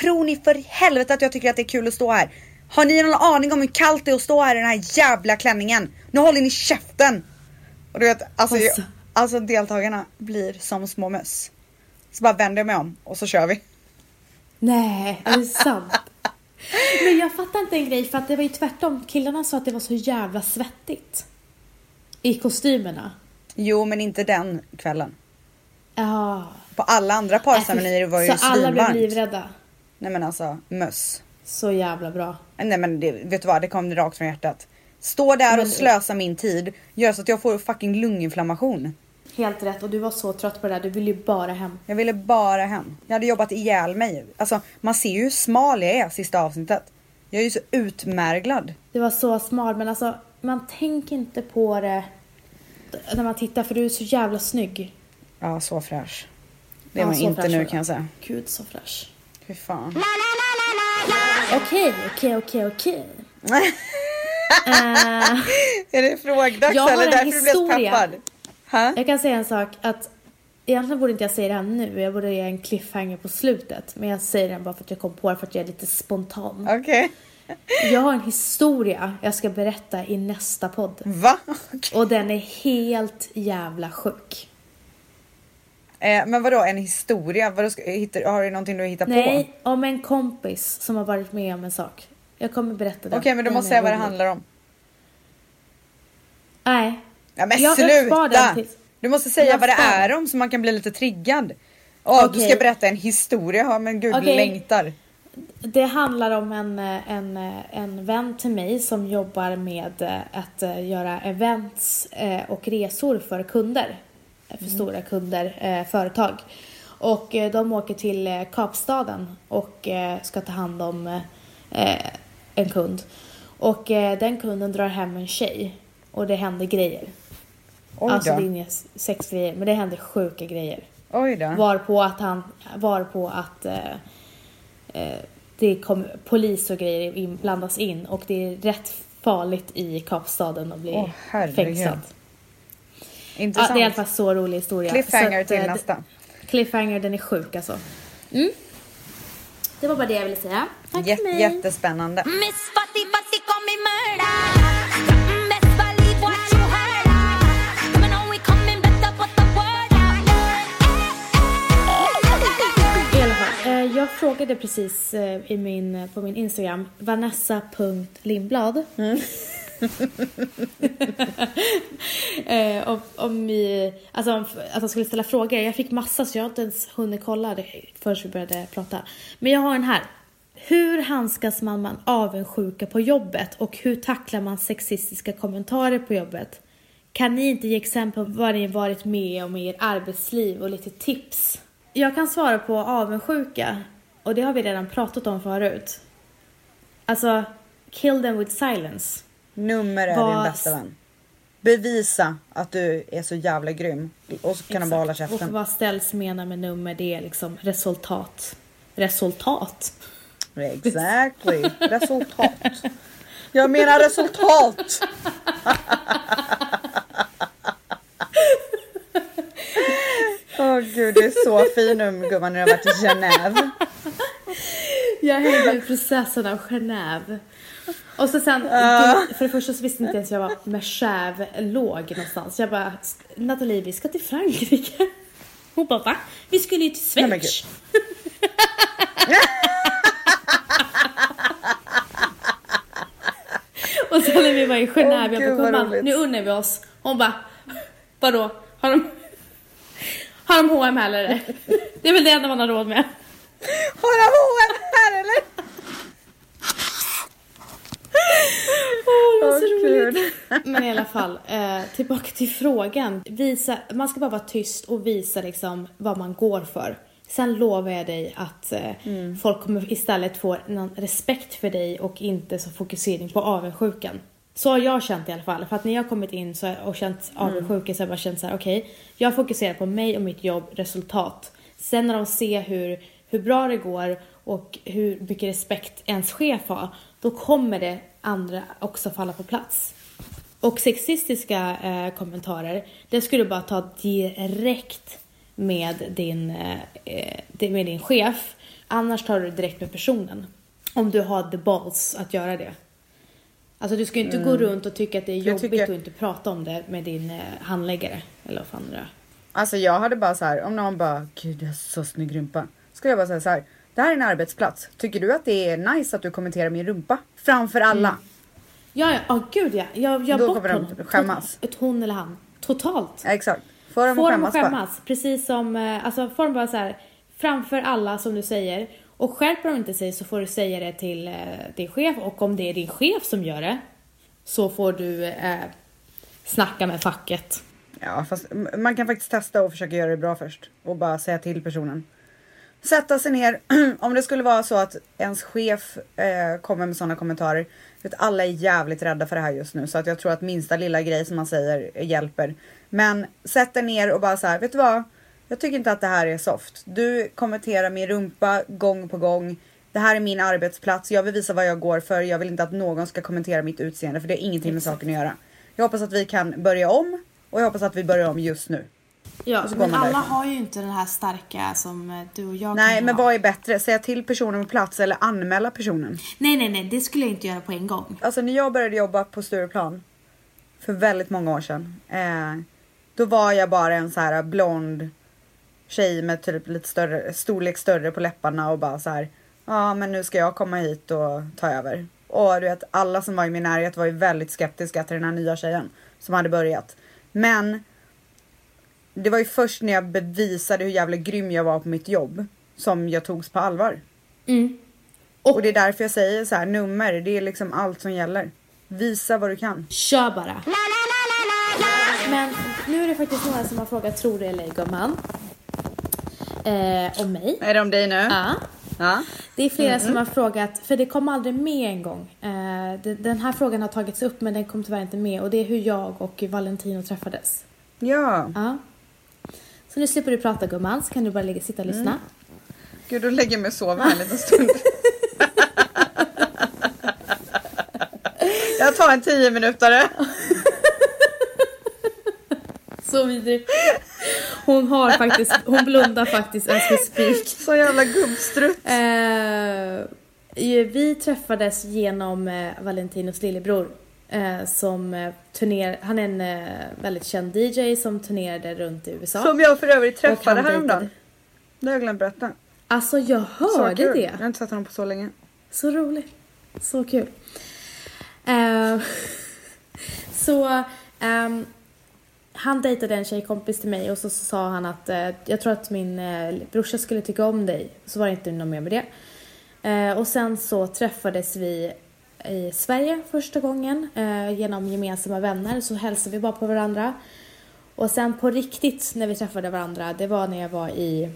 Speaker 1: Tror ni för helvete att jag tycker att det är kul att stå här? Har ni någon aning om hur kallt det är att stå här i den här jävla klänningen? Nu håller ni käften! Och du vet, alltså, jag,
Speaker 2: Alltså.
Speaker 1: alltså deltagarna blir som små möss. Så bara vänder jag mig om och så kör vi.
Speaker 2: Nej, är det sant? Men jag fattar inte en grej för att det var ju tvärtom. Killarna sa att det var så jävla svettigt. I kostymerna.
Speaker 1: Jo men inte den kvällen.
Speaker 2: Ja.
Speaker 1: På alla andra parceremonier var det ju
Speaker 2: Äh, Så alla blev
Speaker 1: svinvarmt.
Speaker 2: livrädda.
Speaker 1: Nej men alltså möss. Äh,
Speaker 2: Så jävla bra.
Speaker 1: Nej men det, vet du vad, det kom rakt från hjärtat. Stå där och
Speaker 2: Men-
Speaker 1: slösa min tid gör så att jag får fucking lunginflammation.
Speaker 2: Helt rätt och du var så trött på det där. Du ville ju bara hem.
Speaker 1: Jag ville bara hem. Jag hade jobbat ihjäl mig. Alltså man ser ju hur smal jag är sista avsnittet. Jag är ju så utmärglad.
Speaker 2: Det var så smal men alltså man tänker inte på det när man tittar för du är så jävla snygg.
Speaker 1: Ja så fräsch. Det
Speaker 2: Ja,
Speaker 1: är man
Speaker 2: så
Speaker 1: inte
Speaker 2: fräsch
Speaker 1: nu
Speaker 2: var du.
Speaker 1: kan jag säga.
Speaker 2: Gud så fräsch.
Speaker 1: Fy fan.
Speaker 2: Okej, okej, okej, okej. Eh,
Speaker 1: Är det frågdags
Speaker 2: Jag har
Speaker 1: eller
Speaker 2: en
Speaker 1: därför du blev så
Speaker 2: historia.
Speaker 1: peppad? Ha?
Speaker 2: jag kan säga en sak att egentligen borde inte jag säga det här nu. Jag borde ge en cliffhanger på slutet. Men jag säger den bara för att jag kom på det för att jag är lite spontan.
Speaker 1: Okej.
Speaker 2: Jag har en historia jag ska berätta i nästa podd.
Speaker 1: Va? Okej.
Speaker 2: Och den är helt jävla sjuk.
Speaker 1: Eh, men vadå en historia? Vadå, ska, hittar, har du någonting du hittar på?
Speaker 2: Nej, om en kompis som har varit med om en sak. Jag kommer berätta den.
Speaker 1: Okej men du
Speaker 2: Den
Speaker 1: måste
Speaker 2: är
Speaker 1: säga vad det
Speaker 2: rolig.
Speaker 1: handlar om.
Speaker 2: Nej.
Speaker 1: Ja, men
Speaker 2: Jag- jag spar
Speaker 1: sluta!
Speaker 2: den tills-
Speaker 1: Du måste säga
Speaker 2: Jag
Speaker 1: vad det
Speaker 2: spar.
Speaker 1: är om så man kan bli lite triggad. Åh, Du
Speaker 2: Okej.
Speaker 1: ska berätta en historia, ja, men gud du
Speaker 2: Okej.
Speaker 1: längtar.
Speaker 2: Det handlar om en, eh, en, eh, en vän till mig som jobbar med eh, att eh, göra events eh, och resor för kunder. För
Speaker 1: Mm.
Speaker 2: stora kunder, eh, företag. Och eh, de åker till eh, Kapstaden och eh, ska ta hand om eh, eh, en kund. Och eh, den kunden drar hem en tjej och det händer grejer.
Speaker 1: Oj då.
Speaker 2: Alltså det är inga sexgrejer, men det händer sjuka grejer.
Speaker 1: Oj då.
Speaker 2: Varpå att han, varpå att eh, eh, det kom polis och grejer in, blandas in och det är rätt farligt i Kapstaden att bli
Speaker 1: Åh, herregud.
Speaker 2: fängslad. Ja,
Speaker 1: Intressant.
Speaker 2: det är i alla fall så rolig historia.
Speaker 1: Cliffhanger
Speaker 2: Så att,
Speaker 1: till
Speaker 2: eh, d-
Speaker 1: nästa.
Speaker 2: Cliffhanger, den är sjuk alltså. Mm. Det var bara det jag ville säga. Tack för
Speaker 1: Jätte,
Speaker 2: mig.
Speaker 1: jättespännande.
Speaker 3: Miss Fatty Fatty call me murder. Mm, Best believe what you heard. ah. Coming on, we coming better, put the word out.
Speaker 2: I alla fall, eh, jag frågade precis eh, i min, på min Instagram, vanessa.lindblad. eh, om, om vi, alltså om, att de skulle ställa frågor. Jag fick massa så jag har inte ens hunnit kolla det förrän vi började prata. Men jag har en här. Hur handskas man med avundsjuka på jobbet och hur tacklar man sexistiska kommentarer på jobbet? Kan ni inte ge exempel på vad ni varit med om i er arbetsliv och lite tips? Jag kan svara på avundsjuka och det har vi redan pratat om förut. Alltså, kill them with silence.
Speaker 1: Nummer är
Speaker 2: Vad-
Speaker 1: din bästa vän. Bevisa att du är så jävla grym. Och så kan de bara hålla
Speaker 2: Och
Speaker 1: käften.
Speaker 2: vad ställs menar med nummer, det är liksom resultat. Resultat?
Speaker 1: Exactly. Resultat. Jag menar resultat. Åh gud, du är så fin um, gumman när du har varit i Genève.
Speaker 2: Jag hängde med prinsessan av Genève. Och så sen, du, för det första så visste inte ens jag var Merchève låg någonstans. Jag bara, Nathalie vi ska till Frankrike. Hon bara va? Vi skulle ju till
Speaker 1: Nej, men
Speaker 2: Schweiz. Och sen när vi var i Genève,
Speaker 1: Åh,
Speaker 2: jag
Speaker 1: gud, vad
Speaker 2: bara
Speaker 1: roligt."
Speaker 2: gumman nu unnar vi oss. Hon bara, vadå? Har de, har de H&M här eller? Det är väl det enda man har råd med.
Speaker 1: Har de H&M här eller?
Speaker 2: Åh, det var så
Speaker 1: Åh,
Speaker 2: roligt.
Speaker 1: Gud.
Speaker 2: Men i alla fall, eh, tillbaka till frågan. Visa, man ska bara vara tyst och visa liksom vad man går för. Sen lovar jag dig att eh, folk kommer istället få någon respekt för dig och inte så fokusering på avundsjukan. Så har jag känt i alla fall. För att när jag har kommit in så, och känt avundsjuka så har jag bara känt så här: okej, jag fokuserar på mig och mitt jobb, resultat. Sen när de ser hur, hur bra det går och hur mycket respekt ens chef har, då kommer det andra också falla på plats. Och sexistiska eh, kommentarer, det skulle du bara ta direkt med din, eh, eh, med din chef. Annars tar du det direkt med personen. Om du har the balls att göra det. Alltså du ska ju inte gå runt och tycka att det är
Speaker 1: Mm. Jag
Speaker 2: jobbigt
Speaker 1: tycker-
Speaker 2: och inte prata om det med din eh, handläggare. Eller vad fan det är.
Speaker 1: Alltså jag hade bara så här, om någon bara gud jag är så snygg rumpa. Skulle jag bara säga så här, det här är en arbetsplats. Tycker du att det är nice att du kommenterar min rumpa? Framför alla.
Speaker 2: Ja, ja, oh, gud ja. Jag, jag
Speaker 1: Då
Speaker 2: bort
Speaker 1: kommer de
Speaker 2: honom.
Speaker 1: skämmas.
Speaker 2: Tot- Ett hon eller han. Totalt.
Speaker 1: Ja, exakt. Får de
Speaker 2: Får
Speaker 1: att
Speaker 2: de att
Speaker 1: skämmas, för.
Speaker 2: skämmas. Precis som, eh, alltså får de bara så här framför alla som du säger. Och skärper de inte sig så får du säga det till eh, din chef och om det är din chef som gör det så får du eh, snacka med facket.
Speaker 1: Ja, fast m- man kan faktiskt testa och försöka göra det bra först och bara säga till personen. Sätta sig ner. Om det skulle vara så att ens chef eh, kommer med sådana kommentarer. Vet, alla är jävligt rädda för det här just nu så att jag tror att minsta lilla grej som man säger hjälper. Men sätt dig ner och bara så här, vet du vad? Jag tycker inte att det här är soft. Du kommenterar min rumpa gång på gång. Det här är min arbetsplats. Jag vill visa vad jag går för. Jag vill inte att någon ska kommentera mitt utseende för det har ingenting med saken att göra. Jag hoppas att vi kan börja om och jag hoppas att vi börjar om just nu.
Speaker 2: Ja,
Speaker 1: Och så går
Speaker 2: men
Speaker 1: man
Speaker 2: alla
Speaker 1: därifrån.
Speaker 2: har ju inte den här starka som eh, du och jag
Speaker 1: Nej,
Speaker 2: kan
Speaker 1: men
Speaker 2: ha.
Speaker 1: vad är bättre? Säga till personen på plats eller anmäla personen?
Speaker 2: Nej, nej, nej, det skulle jag inte göra på en gång.
Speaker 1: Alltså när jag började jobba på Stureplan för väldigt många år sedan. Eh, då var jag bara en så här blond tjej med typ lite större, storlek större på läpparna och bara så här. Ja, men nu ska jag komma hit och ta över. Och du vet, alla som var i min närhet var ju väldigt skeptiska till den här nya tjejen som hade börjat. Men det var ju först när jag bevisade hur jävla grym jag var på mitt jobb som jag togs på allvar.
Speaker 2: Mm.
Speaker 1: Och, det är därför jag säger så här, nummer, det är liksom allt som gäller. Visa vad du kan.
Speaker 2: Kör bara! Men nu är det faktiskt några som har frågat tror du eller ej gumman. Eh, och mig.
Speaker 1: Är det om dig nu?
Speaker 2: Ja.
Speaker 1: Ja.
Speaker 2: Det är flera som har frågat, för det kom aldrig med en gång. Eh, de- den här frågan har tagits upp men den kom tyvärr inte med och det är hur jag och Valentino träffades.
Speaker 1: Ja.
Speaker 2: Ja. Så nu slipper du prata gumman så kan du bara ligga, sitta och lyssna.
Speaker 1: Mm. Gud, då lägger jag mig och sover här en liten stund. jag tar en tio minutare.
Speaker 2: Så vidrig. Hon har faktiskt, hon blundar faktiskt as we speak.
Speaker 1: Så jävla gubbstrutt.
Speaker 2: Eh, ju- vi träffades genom eh, Valentinos lillebror. Eh, som eh, turner, han är en eh, väldigt känd DJ som turnerade runt i USA.
Speaker 1: Som jag för övrigt
Speaker 2: Och han
Speaker 1: träffade häromdagen.
Speaker 2: dejtade-
Speaker 1: Det har jag glömt berätta.
Speaker 2: Alltså jag
Speaker 1: Så
Speaker 2: hörde
Speaker 1: kul.
Speaker 2: det.
Speaker 1: Jag har inte sett honom på så länge.
Speaker 2: Så roligt. Så kul. Eh, så ehm, han dejtade en tjejkompis till mig och så, sa han att eh, jag tror att min eh, brorsa skulle tycka om dig. Så var det inte något mer med det. Eh, och sen så träffades vi i Sverige första gången eh, genom gemensamma vänner så hälsade vi bara på varandra. Och sen på riktigt när vi träffade varandra det var när jag var i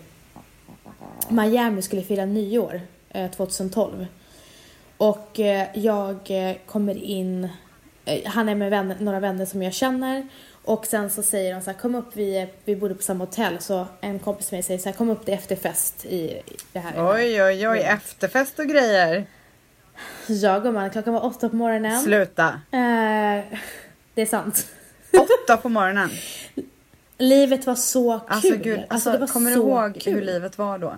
Speaker 2: Miami skulle fira nyår eh, 2012. Och eh, jag eh, kommer in eh, han är med vänner, några vänner som jag känner och sen så säger de så här, kom upp, vi, vi bodde på samma hotell så en kompis med mig säger så här, kom upp det är efterfest i i det här.
Speaker 1: Oj, oj, oj. Efterfest och grejer.
Speaker 2: Jag och man, klockan var åtta på morgonen.
Speaker 1: Sluta.
Speaker 2: Eh, det är sant.
Speaker 1: Åtta på morgonen.
Speaker 2: Livet var så kul.
Speaker 1: Alltså gud, alltså,
Speaker 2: det var
Speaker 1: kommer du
Speaker 2: så
Speaker 1: ihåg
Speaker 2: kul.
Speaker 1: hur livet var då?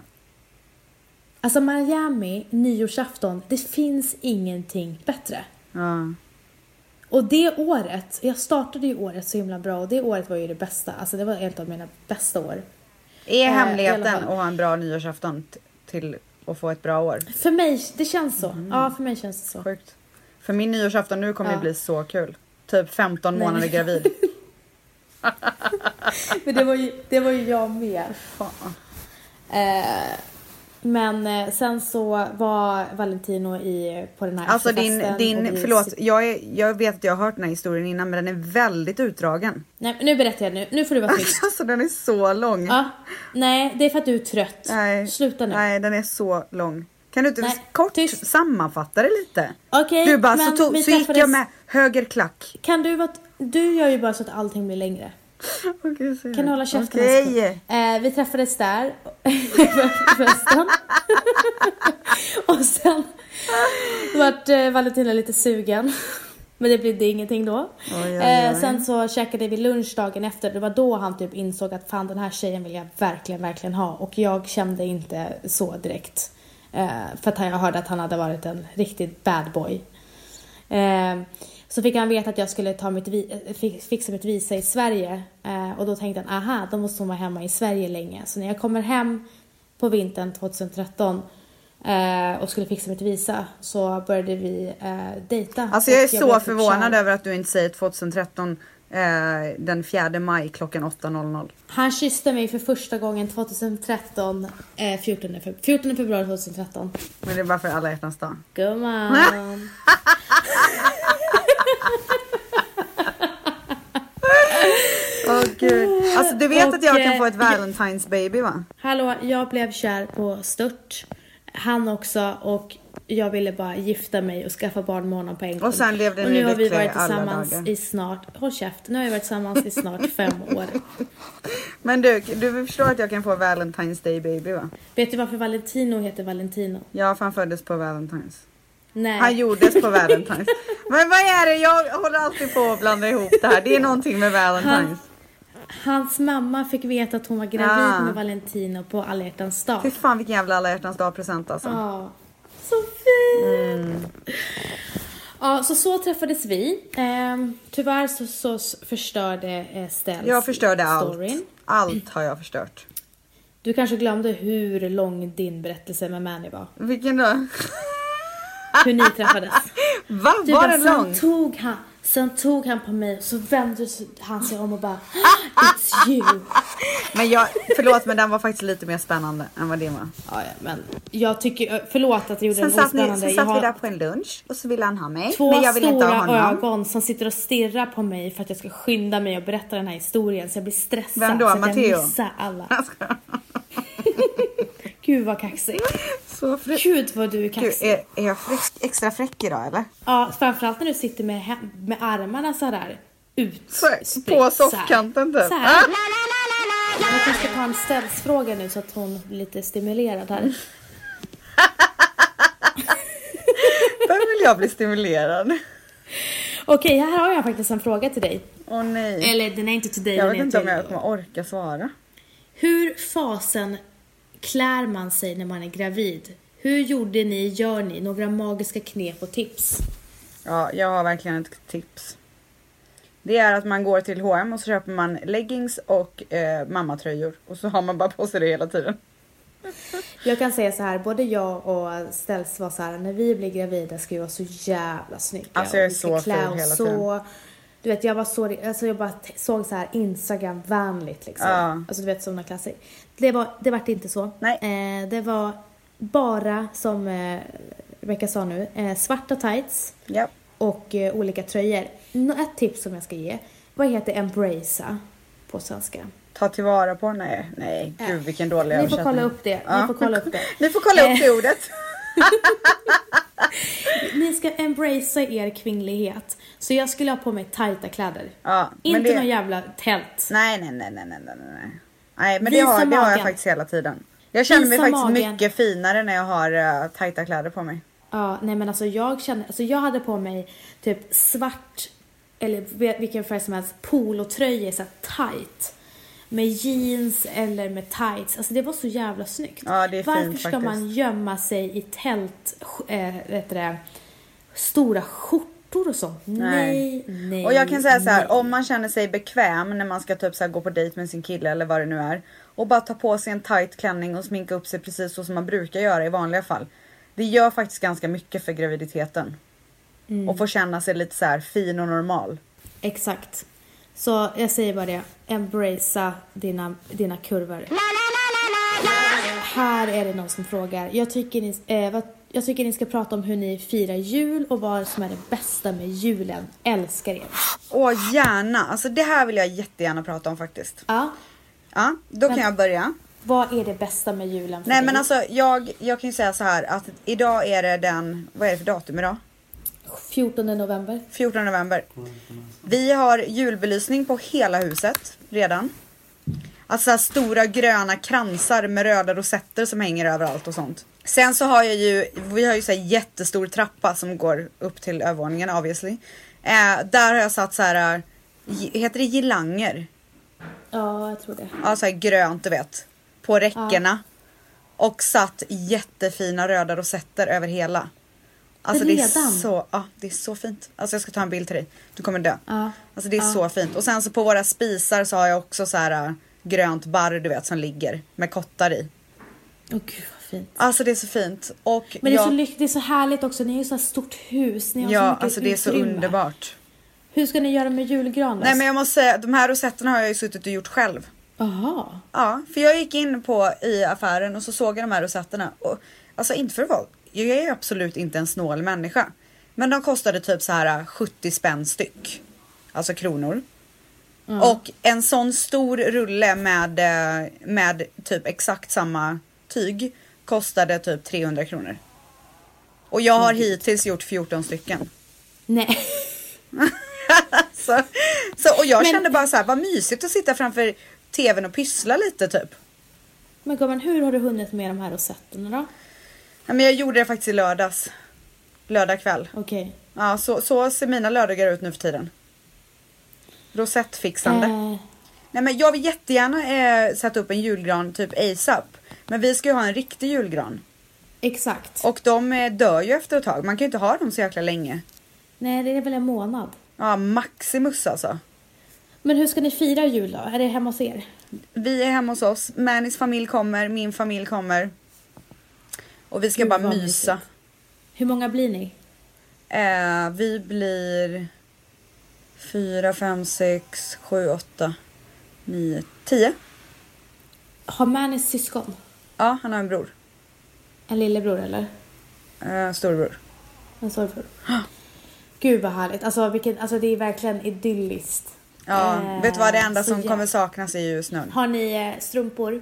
Speaker 2: Alltså Miami, nyårsafton, det finns ingenting bättre.
Speaker 1: Ja.
Speaker 2: Eh, Och det året, jag startade ju året så himla bra och det året var ju det bästa. Alltså det var ett av mina bästa år.
Speaker 1: Är
Speaker 2: Eh, i alla
Speaker 1: hemligheten
Speaker 2: fall.
Speaker 1: att ha en bra nyårsafton t- till att få ett bra år?
Speaker 2: För mig, det känns så. Ja, för mig känns det så.
Speaker 1: Sjukt. För min nyårsafton nu kommer
Speaker 2: Ja.
Speaker 1: ju bli så kul. Typ 15
Speaker 2: Nej.
Speaker 1: månader gravid.
Speaker 2: Men det var ju, det var ju jag med.
Speaker 1: Fan.
Speaker 2: Eh, men eh, sen så var Valentino i, på den här
Speaker 1: Alltså din,
Speaker 2: efterfesten och
Speaker 1: din
Speaker 2: vi-
Speaker 1: förlåt, jag, är, jag vet att jag har hört den här historien innan men den är väldigt utdragen.
Speaker 2: Nej, men nu berättar jag nu. Nu får du vara tyst.
Speaker 1: Alltså den är så lång.
Speaker 2: Ja, nej, det är för att du är trött.
Speaker 1: Nej.
Speaker 2: Sluta nu.
Speaker 1: Nej, den är så lång. Kan du inte
Speaker 2: Nej,
Speaker 1: kort
Speaker 2: tyst.
Speaker 1: sammanfatta det lite?
Speaker 2: Okej,
Speaker 1: du bara, så,
Speaker 2: men
Speaker 1: tog,
Speaker 2: vi
Speaker 1: så gick
Speaker 2: träffades-
Speaker 1: jag med höger klack.
Speaker 2: Kan du vara... Du gör ju bara så att allting blir längre.
Speaker 1: Okej, så är
Speaker 2: Kan
Speaker 1: det.
Speaker 2: du hålla käften? en
Speaker 1: Okej.
Speaker 2: sekund? Eh, vi träffades där på festen. och sen vart eh, Valentina lite sugen. Men det blev det ingenting då.
Speaker 1: oj,
Speaker 2: Eh,
Speaker 1: oj.
Speaker 2: sen så käkade vi lunch dagen efter. Det var då han typ insåg att fan den här tjejen vill jag verkligen, verkligen ha. Och jag kände inte så direkt. Eh, för att jag hörde att han hade varit en riktigt bad boy. Eh, så fick han veta att jag skulle ta mitt vi- eh, fi- fixa mitt visa i Sverige. Eh, och då tänkte han, aha, då måste hon vara hemma i Sverige länge. Så när jag kommer hem på vintern 2013 eh, och skulle fixa mitt visa så började vi eh, dejta.
Speaker 1: Alltså jag är
Speaker 2: Och
Speaker 1: så
Speaker 2: blev typ
Speaker 1: förvånad
Speaker 2: kär.
Speaker 1: över att du inte säger 2013 eh, den 4 maj klockan 8.00.
Speaker 2: Han kysste mig för första gången 2013, eh, 14, feb- 14 februari 2013.
Speaker 1: Men det är bara för alla hjärtans dag.
Speaker 2: Gumman.
Speaker 1: Åh gud. Alltså du vet
Speaker 2: Och,
Speaker 1: att jag kan få ett
Speaker 2: eh,
Speaker 1: Valentine's baby va?
Speaker 2: Hallå, jag blev kär på stört. Han också och jag ville bara gifta mig och skaffa barn med honom på en gång.
Speaker 1: Och sen levde
Speaker 2: Och
Speaker 1: ni
Speaker 2: nu har vi
Speaker 1: lyckliga
Speaker 2: varit
Speaker 1: alla
Speaker 2: tillsammans
Speaker 1: dagar.
Speaker 2: i snart, håll käft, nu har vi varit tillsammans i snart fem år.
Speaker 1: Men du, du förstår att jag kan få Valentine's day baby va?
Speaker 2: Vet du varför Valentino heter Valentino?
Speaker 1: Ja, för han föddes på Valentine's.
Speaker 2: Nej.
Speaker 1: Han gjordes på Valentine's. Men vad är det? Jag håller alltid på att blanda ihop det här. Det är någonting med Valentine's.
Speaker 2: Han- Hans mamma fick veta att hon var gravid
Speaker 1: Ah.
Speaker 2: med Valentino på alla hjärtans dag.
Speaker 1: Fy fan vilken jävla alla hjärtans dag present alltså.
Speaker 2: Ja, så fint! Ja, så så träffades vi. Ehm, tyvärr så, så s- förstörde eh, Stens
Speaker 1: Jag förstörde allt.
Speaker 2: storyn.
Speaker 1: Allt har jag förstört.
Speaker 2: Du kanske glömde hur lång din berättelse med Manny var.
Speaker 1: Vilken då?
Speaker 2: Hur ni träffades.
Speaker 1: Va?
Speaker 2: Du
Speaker 1: Var
Speaker 2: bara,
Speaker 1: den
Speaker 2: sen
Speaker 1: lång?
Speaker 2: Tog han, sen tog han på mig och så vände han sig om och bara "Ah, It's you!
Speaker 1: Men jag, förlåt men den var faktiskt lite mer spännande än vad din var.
Speaker 2: Ja, ja, men jag tycker, eh, förlåt att jag gjorde
Speaker 1: Sen
Speaker 2: den
Speaker 1: satt, ni,
Speaker 2: ospännande.
Speaker 1: sen
Speaker 2: Jag
Speaker 1: satt vi där
Speaker 2: har
Speaker 1: på en lunch och så ville han ha mig.
Speaker 2: två
Speaker 1: men jag ville inte ha
Speaker 2: stora
Speaker 1: honom.
Speaker 2: ögon som sitter och stirrar på mig för att jag ska skynda mig och berätta den här historien så jag blir stressad.
Speaker 1: Vem då?
Speaker 2: Så att
Speaker 1: Matteo?
Speaker 2: jag missar alla. Gud vad kaxig.
Speaker 1: Så fräck.
Speaker 2: Gud vad du är
Speaker 1: Gud,
Speaker 2: kaxig.
Speaker 1: är, är jag fräck, extra fräck idag eller?
Speaker 2: Ja, framförallt när du sitter med, hem- med armarna så här ut.
Speaker 1: Så här,
Speaker 2: spritt,
Speaker 1: på
Speaker 2: så här.
Speaker 1: soffkanten typ.
Speaker 2: Så här. Jag kanske ska ta en ställsfråga nu så att hon blir lite stimulerad här.
Speaker 1: Där vill jag bli stimulerad.
Speaker 2: Okej, här har jag faktiskt en fråga till dig.
Speaker 1: Åh nej.
Speaker 2: Eller den är inte till dig,
Speaker 1: Mm. Jag
Speaker 2: den
Speaker 1: vet inte
Speaker 2: är
Speaker 1: om
Speaker 2: till-
Speaker 1: jag kommer orka svara.
Speaker 2: Hur fasen klär man sig när man är gravid? Hur gjorde ni, gör ni? Några magiska knep och tips?
Speaker 1: Ja, jag har verkligen ett tips. Det är att man går till H&M och så köper man leggings och eh, mammatröjor. Och så har man bara på sig det hela tiden.
Speaker 2: Jag kan säga så här, både jag och Ställs var så här, när vi blir gravida ska vi vara så jävla snygga.
Speaker 1: Alltså, jag är
Speaker 2: Och vi ska
Speaker 1: så
Speaker 2: klä
Speaker 1: ful
Speaker 2: oss
Speaker 1: hela
Speaker 2: så,
Speaker 1: tiden.
Speaker 2: Du vet, jag var så, alltså jag bara t- såg så här Instagram-vänligt liksom.
Speaker 1: Ja.
Speaker 2: Alltså du vet sådana klasser. Det var, det vart inte så.
Speaker 1: Nej.
Speaker 2: Eh, det var bara, som eh, Rebecca sa nu, eh, svarta tights
Speaker 1: Ja.
Speaker 2: och eh, olika tröjor. Nå- Ett tips som jag ska ge, vad heter embracea på svenska?
Speaker 1: Ta tillvara på, nej, nej, gud vilken dålig
Speaker 2: Äh. Ni får
Speaker 1: översättning.
Speaker 2: kolla upp det, ni får kolla upp det.
Speaker 1: Ni får kolla upp
Speaker 2: Eh,
Speaker 1: det ordet.
Speaker 2: Ni ska embracea er kvinnlighet. Så jag skulle ha på mig tajta kläder.
Speaker 1: Ja, men
Speaker 2: Inte
Speaker 1: det-
Speaker 2: någon jävla tält.
Speaker 1: Nej, nej, nej, nej, nej, nej, nej. Nej, men det
Speaker 2: Visa
Speaker 1: har, det har jag
Speaker 2: magen.
Speaker 1: faktiskt hela tiden. Jag känner mig
Speaker 2: Visa
Speaker 1: faktiskt
Speaker 2: magen.
Speaker 1: mycket finare när jag har eh, tajta kläder på mig.
Speaker 2: Ja, nej men alltså jag känner, alltså jag hade på mig typ svart eller ve- vilken färg som helst polotröja så här tight. Med jeans eller med tights. Alltså det var så jävla snyggt.
Speaker 1: Ja, det är
Speaker 2: Varför
Speaker 1: fint
Speaker 2: ska
Speaker 1: faktiskt.
Speaker 2: man gömma sig i tält, sk- eh, vet du det, stora skjortor och sånt? Nej, nej,
Speaker 1: Och jag kan säga så här,
Speaker 2: nej.
Speaker 1: om man känner sig bekväm när man ska typ så här gå på dejt med sin kille eller vad det nu är och bara ta på sig en tight klänning och sminka upp sig precis så som man brukar göra i vanliga fall. Det gör faktiskt ganska mycket för graviditeten.
Speaker 2: Mm.
Speaker 1: Och få känna sig lite så här fin och normal.
Speaker 2: Exakt. Så jag säger bara det, embracea dina, dina kurvor. Här är det någon som frågar. Jag tycker, ni, eh, vad, jag tycker ni ska prata om hur ni firar jul och vad som är det bästa med julen. Älskar er.
Speaker 1: Åh gärna, alltså det här vill jag jättegärna prata om faktiskt.
Speaker 2: Ja,
Speaker 1: Ja, då kan
Speaker 2: Men- Mm.
Speaker 1: jag börja.
Speaker 2: vad är det bästa med julen för
Speaker 1: Nej
Speaker 2: dig?
Speaker 1: men alltså jag, jag kan ju säga så här att idag är det den, vad är det för datum idag?
Speaker 2: 14 november.
Speaker 1: 14 november. Vi har julbelysning på hela huset redan. Alltså så här stora gröna kransar med röda rosetter som hänger överallt och sånt. Sen så har jag ju, vi har ju så här jättestor trappa som går upp till övervåningen obviously. Eh, där har jag satt så här, eh, gi- heter det girlanger?
Speaker 2: Ja, jag tror det.
Speaker 1: Ja så här grönt du vet. På räckena. Och satt jättefina röda rosetter över hela. Alltså det är,
Speaker 2: Redan?
Speaker 1: så, ja, det är så fint. Alltså jag ska ta en bild till dig. Du kommer dö.
Speaker 2: Ja.
Speaker 1: Alltså det är så fint. Och sen så på våra spisar så har jag också så här äh, grönt barr du vet som ligger med kottar i.
Speaker 2: Åh gud vad fint.
Speaker 1: Alltså det är så fint. Och
Speaker 2: Men det, är
Speaker 1: jag,
Speaker 2: så lyck- det är så härligt också, ni har ju så här stort hus, ni har
Speaker 1: Ja,
Speaker 2: så mycket
Speaker 1: alltså det är så
Speaker 2: utrymme.
Speaker 1: underbart.
Speaker 2: Hur ska ni göra med julgranen?
Speaker 1: Nej men jag måste säga, de här rosetterna har jag ju suttit och gjort själv.
Speaker 2: Aha.
Speaker 1: Ja, för jag gick in på i affären och så såg jag de här rosetterna. Och, alltså inte för att vara, jag är ju absolut inte en snål människa. Men de kostade typ så här äh, 70 spänn styck. Alltså kronor. Och en sån stor rulle med, eh, med typ exakt samma tyg kostade typ 300 kronor. Och jag har hittills gjort 14 stycken.
Speaker 2: Nej.
Speaker 1: så, så, och jag
Speaker 2: Men-
Speaker 1: kände bara så här, vad mysigt att sitta framför tvn och pyssla lite typ.
Speaker 2: Men gumman, hur har du hunnit med de här rosetterna då?
Speaker 1: Ja, men jag gjorde det faktiskt i lördags. Lördag kväll.
Speaker 2: Okej.
Speaker 1: Ja, så, så ser mina lördagar ut nu för tiden. Rosettfixande.
Speaker 2: Eh,
Speaker 1: Nej, men jag vill jättegärna eh, sätta upp en julgran typ ASAP. Men vi ska ju ha en riktig julgran.
Speaker 2: exakt.
Speaker 1: Och de eh, dör ju efter ett tag. Man kan ju inte ha dem så jäkla länge.
Speaker 2: Nej, det är väl en månad.
Speaker 1: Ja, maximus alltså.
Speaker 2: Men hur ska ni fira jul då? Är det hemma hos er?
Speaker 1: Vi är hemma hos oss. Manis familj kommer, min familj kommer. Och vi ska
Speaker 2: Gud,
Speaker 1: bara
Speaker 2: vad
Speaker 1: mysa.
Speaker 2: mysigt. Hur många blir ni?
Speaker 1: Eh, vi blir 4, 5, 6, 7, 8, 9, 10.
Speaker 2: Har Manis syskon?
Speaker 1: Ja, han har en bror.
Speaker 2: En lillebror eller?
Speaker 1: Eh, storbror.
Speaker 2: En sorgbror? Gud vad härligt. Alltså, vilken, alltså det är verkligen idylliskt.
Speaker 1: Ja,
Speaker 2: Eh,
Speaker 1: vet du vad det enda
Speaker 2: så
Speaker 1: som
Speaker 2: jä-
Speaker 1: kommer saknas är ju snön.
Speaker 2: Har ni eh, strumpor?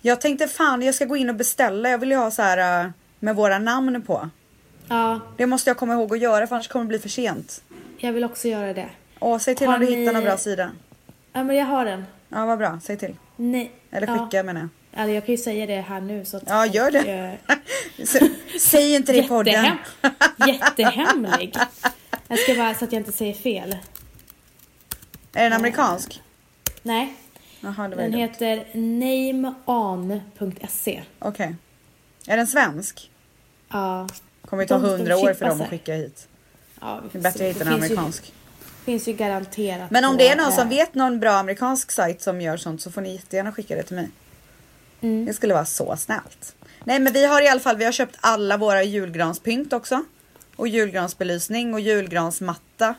Speaker 1: Jag tänkte fan jag ska gå in och beställa. Jag vill ju ha så här eh, med våra namn på.
Speaker 2: Ja,
Speaker 1: Det måste jag komma ihåg att göra för annars kommer det bli för sent.
Speaker 2: jag vill också göra det.
Speaker 1: Åh, säg till
Speaker 2: Har
Speaker 1: om du
Speaker 2: ni-
Speaker 1: hittar någon bra sida.
Speaker 2: Ja, men jag har den.
Speaker 1: Ja, vad bra. Säg till.
Speaker 2: Nej.
Speaker 1: Eller
Speaker 2: ja.
Speaker 1: skicka menar jag.
Speaker 2: Alltså, jag kan ju säga det här nu så att
Speaker 1: Ja, gör
Speaker 2: folk,
Speaker 1: det.
Speaker 2: eh,
Speaker 1: S- Säg inte det i podden.
Speaker 2: Jättehem- Jättehemlig. Jag ska bara så att jag inte säger fel.
Speaker 1: Är den amerikansk?
Speaker 2: Nej.
Speaker 1: Jaha, det var
Speaker 2: Den
Speaker 1: ju dumt.
Speaker 2: heter nameon.se.
Speaker 1: Okej. Är den svensk?
Speaker 2: Ja.
Speaker 1: Kommer ju ta
Speaker 2: De- de
Speaker 1: hundra år för
Speaker 2: chippar
Speaker 1: dem att
Speaker 2: sig.
Speaker 1: skicka hit.
Speaker 2: ja vi
Speaker 1: Det
Speaker 2: får
Speaker 1: är bättre
Speaker 2: se.
Speaker 1: att hitta
Speaker 2: Det
Speaker 1: en
Speaker 2: finns ju-
Speaker 1: amerikansk.
Speaker 2: finns ju garanterat.
Speaker 1: Men om
Speaker 2: på,
Speaker 1: det är någon som
Speaker 2: eh,
Speaker 1: vet någon bra amerikansk sajt som gör sånt så får ni jättegärna skicka det till mig.
Speaker 2: Mm.
Speaker 1: Det skulle vara så snällt. Nej men vi har i alla fall, vi har köpt alla våra julgranspynt också. Och julgransbelysning och julgransmatta.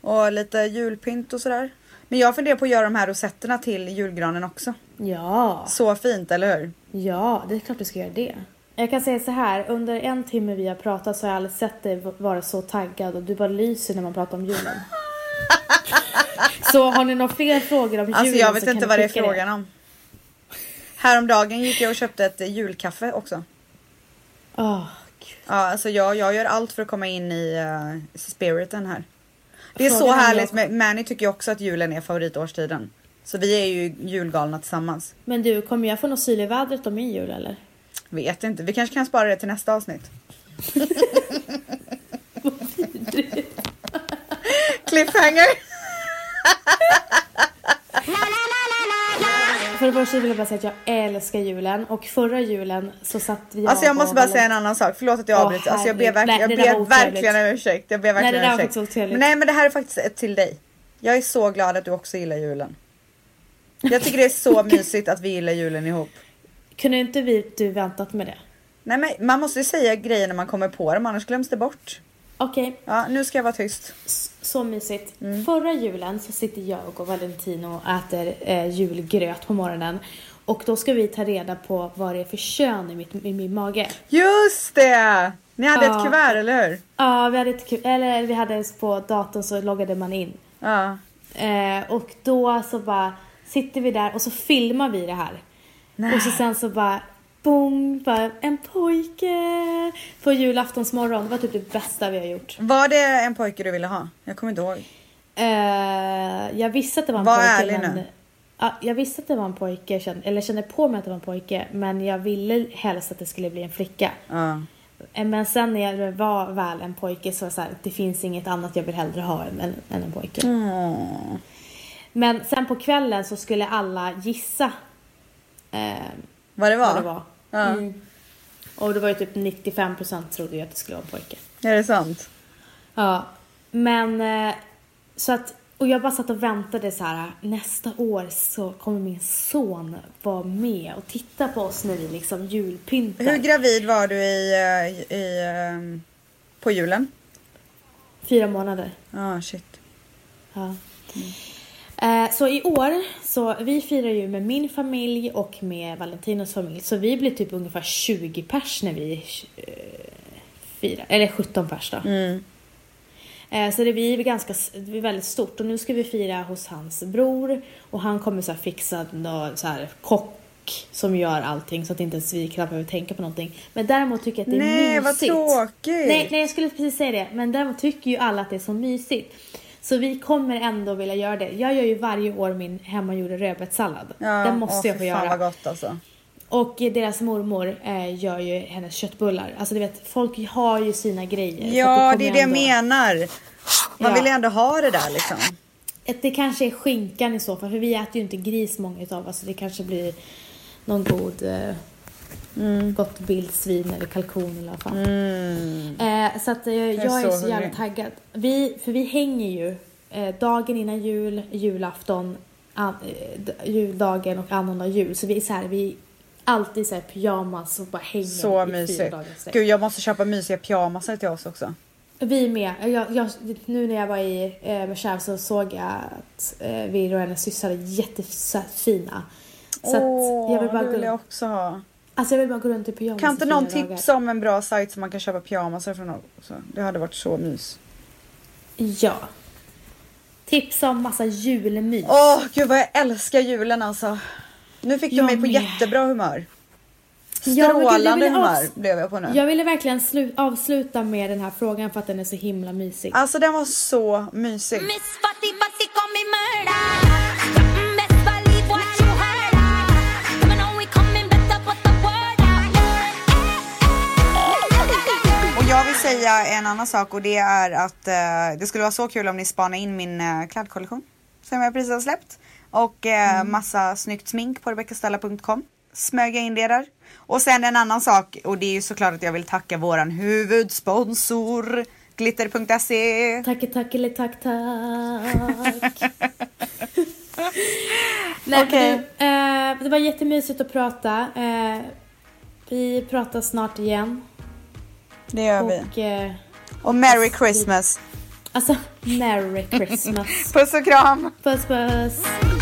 Speaker 1: Och lite julpynt och sådär. Men jag funderar på att göra de här rosetterna till julgranen också.
Speaker 2: Ja,
Speaker 1: Så fint, eller hur?
Speaker 2: ja, det är klart du ska göra det. Jag kan säga så här, under en timme vi har pratat så har jag aldrig sett dig vara så taggad och du bara lyser när man pratar om julen. så har ni några fler frågor om julen
Speaker 1: Alltså jag vet
Speaker 2: så
Speaker 1: inte
Speaker 2: kan
Speaker 1: vad det
Speaker 2: ni
Speaker 1: är
Speaker 2: skicka
Speaker 1: frågan om. Häromdagen gick jag och köpte ett eh, julkaffe också.
Speaker 2: Åh, gud.
Speaker 1: Ja, alltså jag, jag gör allt för att komma in i eh, spiriten här. Det är så
Speaker 2: Frågan är
Speaker 1: härligt.
Speaker 2: om-
Speaker 1: Men Mani tycker ju också att julen är favoritårstiden. Så vi är ju julgalna tillsammans.
Speaker 2: Men du, kommer jag få någon syl i vädret om min jul eller?
Speaker 1: Vet inte. Vi kanske kan spara det till nästa avsnitt. Cliffhanger!
Speaker 2: För det första vill jag bara säga att jag älskar julen och förra julen så satt vi
Speaker 1: Alltså
Speaker 2: och
Speaker 1: jag måste bara
Speaker 2: valde-
Speaker 1: säga en annan sak, förlåt att jag
Speaker 2: Åh,
Speaker 1: avbryter. Alltså jag ber,
Speaker 2: herregud.
Speaker 1: verkligen, jag
Speaker 2: Nej, det där
Speaker 1: ber
Speaker 2: var otrevligt.
Speaker 1: verkligen om ursäkt. Jag ber verkligen
Speaker 2: det där
Speaker 1: om
Speaker 2: var
Speaker 1: ursäkt.
Speaker 2: faktiskt otrevligt.
Speaker 1: Men nej men det här är faktiskt ett till dig. Jag är så glad att du också gillar julen. Jag tycker det är så mysigt att vi gillar julen ihop.
Speaker 2: Kunde inte vi, du väntat med det?
Speaker 1: Nej men man måste ju säga grejer när man kommer på dem annars glöms det bort.
Speaker 2: Okej,
Speaker 1: Ja nu ska jag vara tyst.
Speaker 2: s- så mysigt.
Speaker 1: Mm.
Speaker 2: Förra julen så sitter jag och Valentino och äter eh, julgröt på morgonen och då ska vi ta reda på vad det är för kön i, mitt, i min mage.
Speaker 1: Just det! Ni hade ett
Speaker 2: Ja.
Speaker 1: kuvert eller hur?
Speaker 2: Ja, vi hade ett kul, eller vi hade ens på datorn så loggade man in.
Speaker 1: Ja.
Speaker 2: Eh, och då så bara sitter vi där och så filmar vi det här.
Speaker 1: Nej.
Speaker 2: Och så sen så bara boom, bara en pojke på julaftonsmorgon. Det var typ det bästa vi har gjort.
Speaker 1: Var det en pojke du ville ha? Jag kommer inte ihåg.
Speaker 2: Eh, jag visste att det var en
Speaker 1: Var
Speaker 2: pojke.
Speaker 1: ärlig
Speaker 2: men,
Speaker 1: nu.
Speaker 2: Ja, jag visste att det var en pojke, kände, eller kände på mig att det var en pojke. Men jag ville helst att det skulle bli en flicka.
Speaker 1: Ja.
Speaker 2: Eh, Men sen när det var väl en pojke så var det så här, det finns inget annat jag vill hellre ha än, än- än en pojke.
Speaker 1: Mm.
Speaker 2: Men sen på kvällen så skulle alla gissa eh,
Speaker 1: Vad det var?
Speaker 2: vad det var.
Speaker 1: Ja.
Speaker 2: Och det var ju typ 95% trodde ju att det skulle vara en pojke.
Speaker 1: Är det sant?
Speaker 2: Ja. Men eh, så att, och jag bara satt och väntade så här. nästa år så kommer min son vara med och titta på oss när vi liksom julpyntar.
Speaker 1: Hur gravid var du i, eh, i, eh, på julen?
Speaker 2: Fyra månader.
Speaker 1: Ja, shit.
Speaker 2: Ja. Eh, Så i år, så vi firar ju med min familj och med Valentinos familj. Så vi blir typ ungefär 20 pers när vi eh, firar, eller 17 pers då.
Speaker 1: Mm.
Speaker 2: Eh, Så det blir ganska, det blir väldigt stort. Och nu ska vi fira hos hans bror och han kommer så här fixa någon så här kock som gör allting så att inte ens vi knappt behöver tänka på någonting. Men däremot tycker jag att det är
Speaker 1: Nej, vad
Speaker 2: mysigt.
Speaker 1: tråkigt.
Speaker 2: Nej, nej, jag skulle precis säga det. Men däremot tycker ju alla att det är så mysigt. Så vi kommer ändå vilja göra det. Jag gör ju varje år min hemmagjorda rödbetssallad.
Speaker 1: Ja,
Speaker 2: Den måste
Speaker 1: åh,
Speaker 2: jag få
Speaker 1: fy Fan
Speaker 2: göra.
Speaker 1: vad gott alltså.
Speaker 2: Och eh, deras mormor eh, gör ju hennes köttbullar. Alltså du vet, folk har ju sina grejer. så att
Speaker 1: Ja,
Speaker 2: kommer
Speaker 1: det är det jag
Speaker 2: ändå-
Speaker 1: menar. Man
Speaker 2: Ja.
Speaker 1: vill ju ändå ha det där liksom.
Speaker 2: Att Det kanske är skinkan i så fall, för vi äter ju inte gris många utav oss. Så det kanske blir någon god... Eh, mm, Gott vildsvin eller kalkon eller vad fan. Eh, så att, eh, jag,
Speaker 1: Mm. är
Speaker 2: är
Speaker 1: så
Speaker 2: så, jävla
Speaker 1: hungrig.
Speaker 2: taggad. Vi, för vi hänger ju eh, dagen innan jul, julafton, an, eh, d- juldagen och annandag jul. Så vi är så här, vi är alltid så här pyjamas och bara hänger
Speaker 1: Så
Speaker 2: i fyra
Speaker 1: mysigt.
Speaker 2: dagar i sträck.
Speaker 1: Gud, jag måste köpa mysiga pyjamasar till oss också.
Speaker 2: Vi med. Jag, jag, nu när jag var i eh, Warszawa så såg jag att eh, Virro och hennes systrar är jättefina. Så att jag vill bara
Speaker 1: det
Speaker 2: gå
Speaker 1: vill jag
Speaker 2: runt.
Speaker 1: också ha.
Speaker 2: Alltså jag vill bara gå runt i pyjamas
Speaker 1: Kan
Speaker 2: i
Speaker 1: inte
Speaker 2: fyra
Speaker 1: någon
Speaker 2: dagar.
Speaker 1: tipsa om en bra sajt som man kan köpa pyjamasar från också? Det hade varit så mys.
Speaker 2: Ja. Tipsa om massa julmys.
Speaker 1: Åh, gud vad jag älskar julen alltså. Nu fick du
Speaker 2: Jag
Speaker 1: mig på
Speaker 2: med.
Speaker 1: jättebra humör.
Speaker 2: Ja, men gud, jag
Speaker 1: Strålande
Speaker 2: ville
Speaker 1: humör
Speaker 2: avs-
Speaker 1: blev jag på nu.
Speaker 2: Jag ville verkligen slu- avsluta med den här frågan för att den är så himla mysig.
Speaker 1: Alltså den var så mysig.
Speaker 3: Miss Fatty Fatty call me murder. Mm, Best believe what you heard. Coming on, we coming better, put the word out.
Speaker 1: Och jag vill säga en annan sak och det är att eh, det skulle vara så kul om ni spanar in min eh, klädkollektion som jag precis har släppt. Och eh, massa snyggt smink på rebeccastella.com. Smög jag in det där. Och sen en annan sak och det är ju såklart att jag vill tacka våran huvudsponsor glitter.se.
Speaker 2: Tack, tack, eller tack, tack. Nej,
Speaker 1: Okej.
Speaker 2: men, eh, det var jättemysigt att prata. Eh, vi pratar snart igen.
Speaker 1: Det gör vi.
Speaker 2: Och eh,
Speaker 1: Och merry christmas.
Speaker 2: alltså, merry christmas.
Speaker 1: Puss och kram.
Speaker 2: puss, puss.
Speaker 3: Go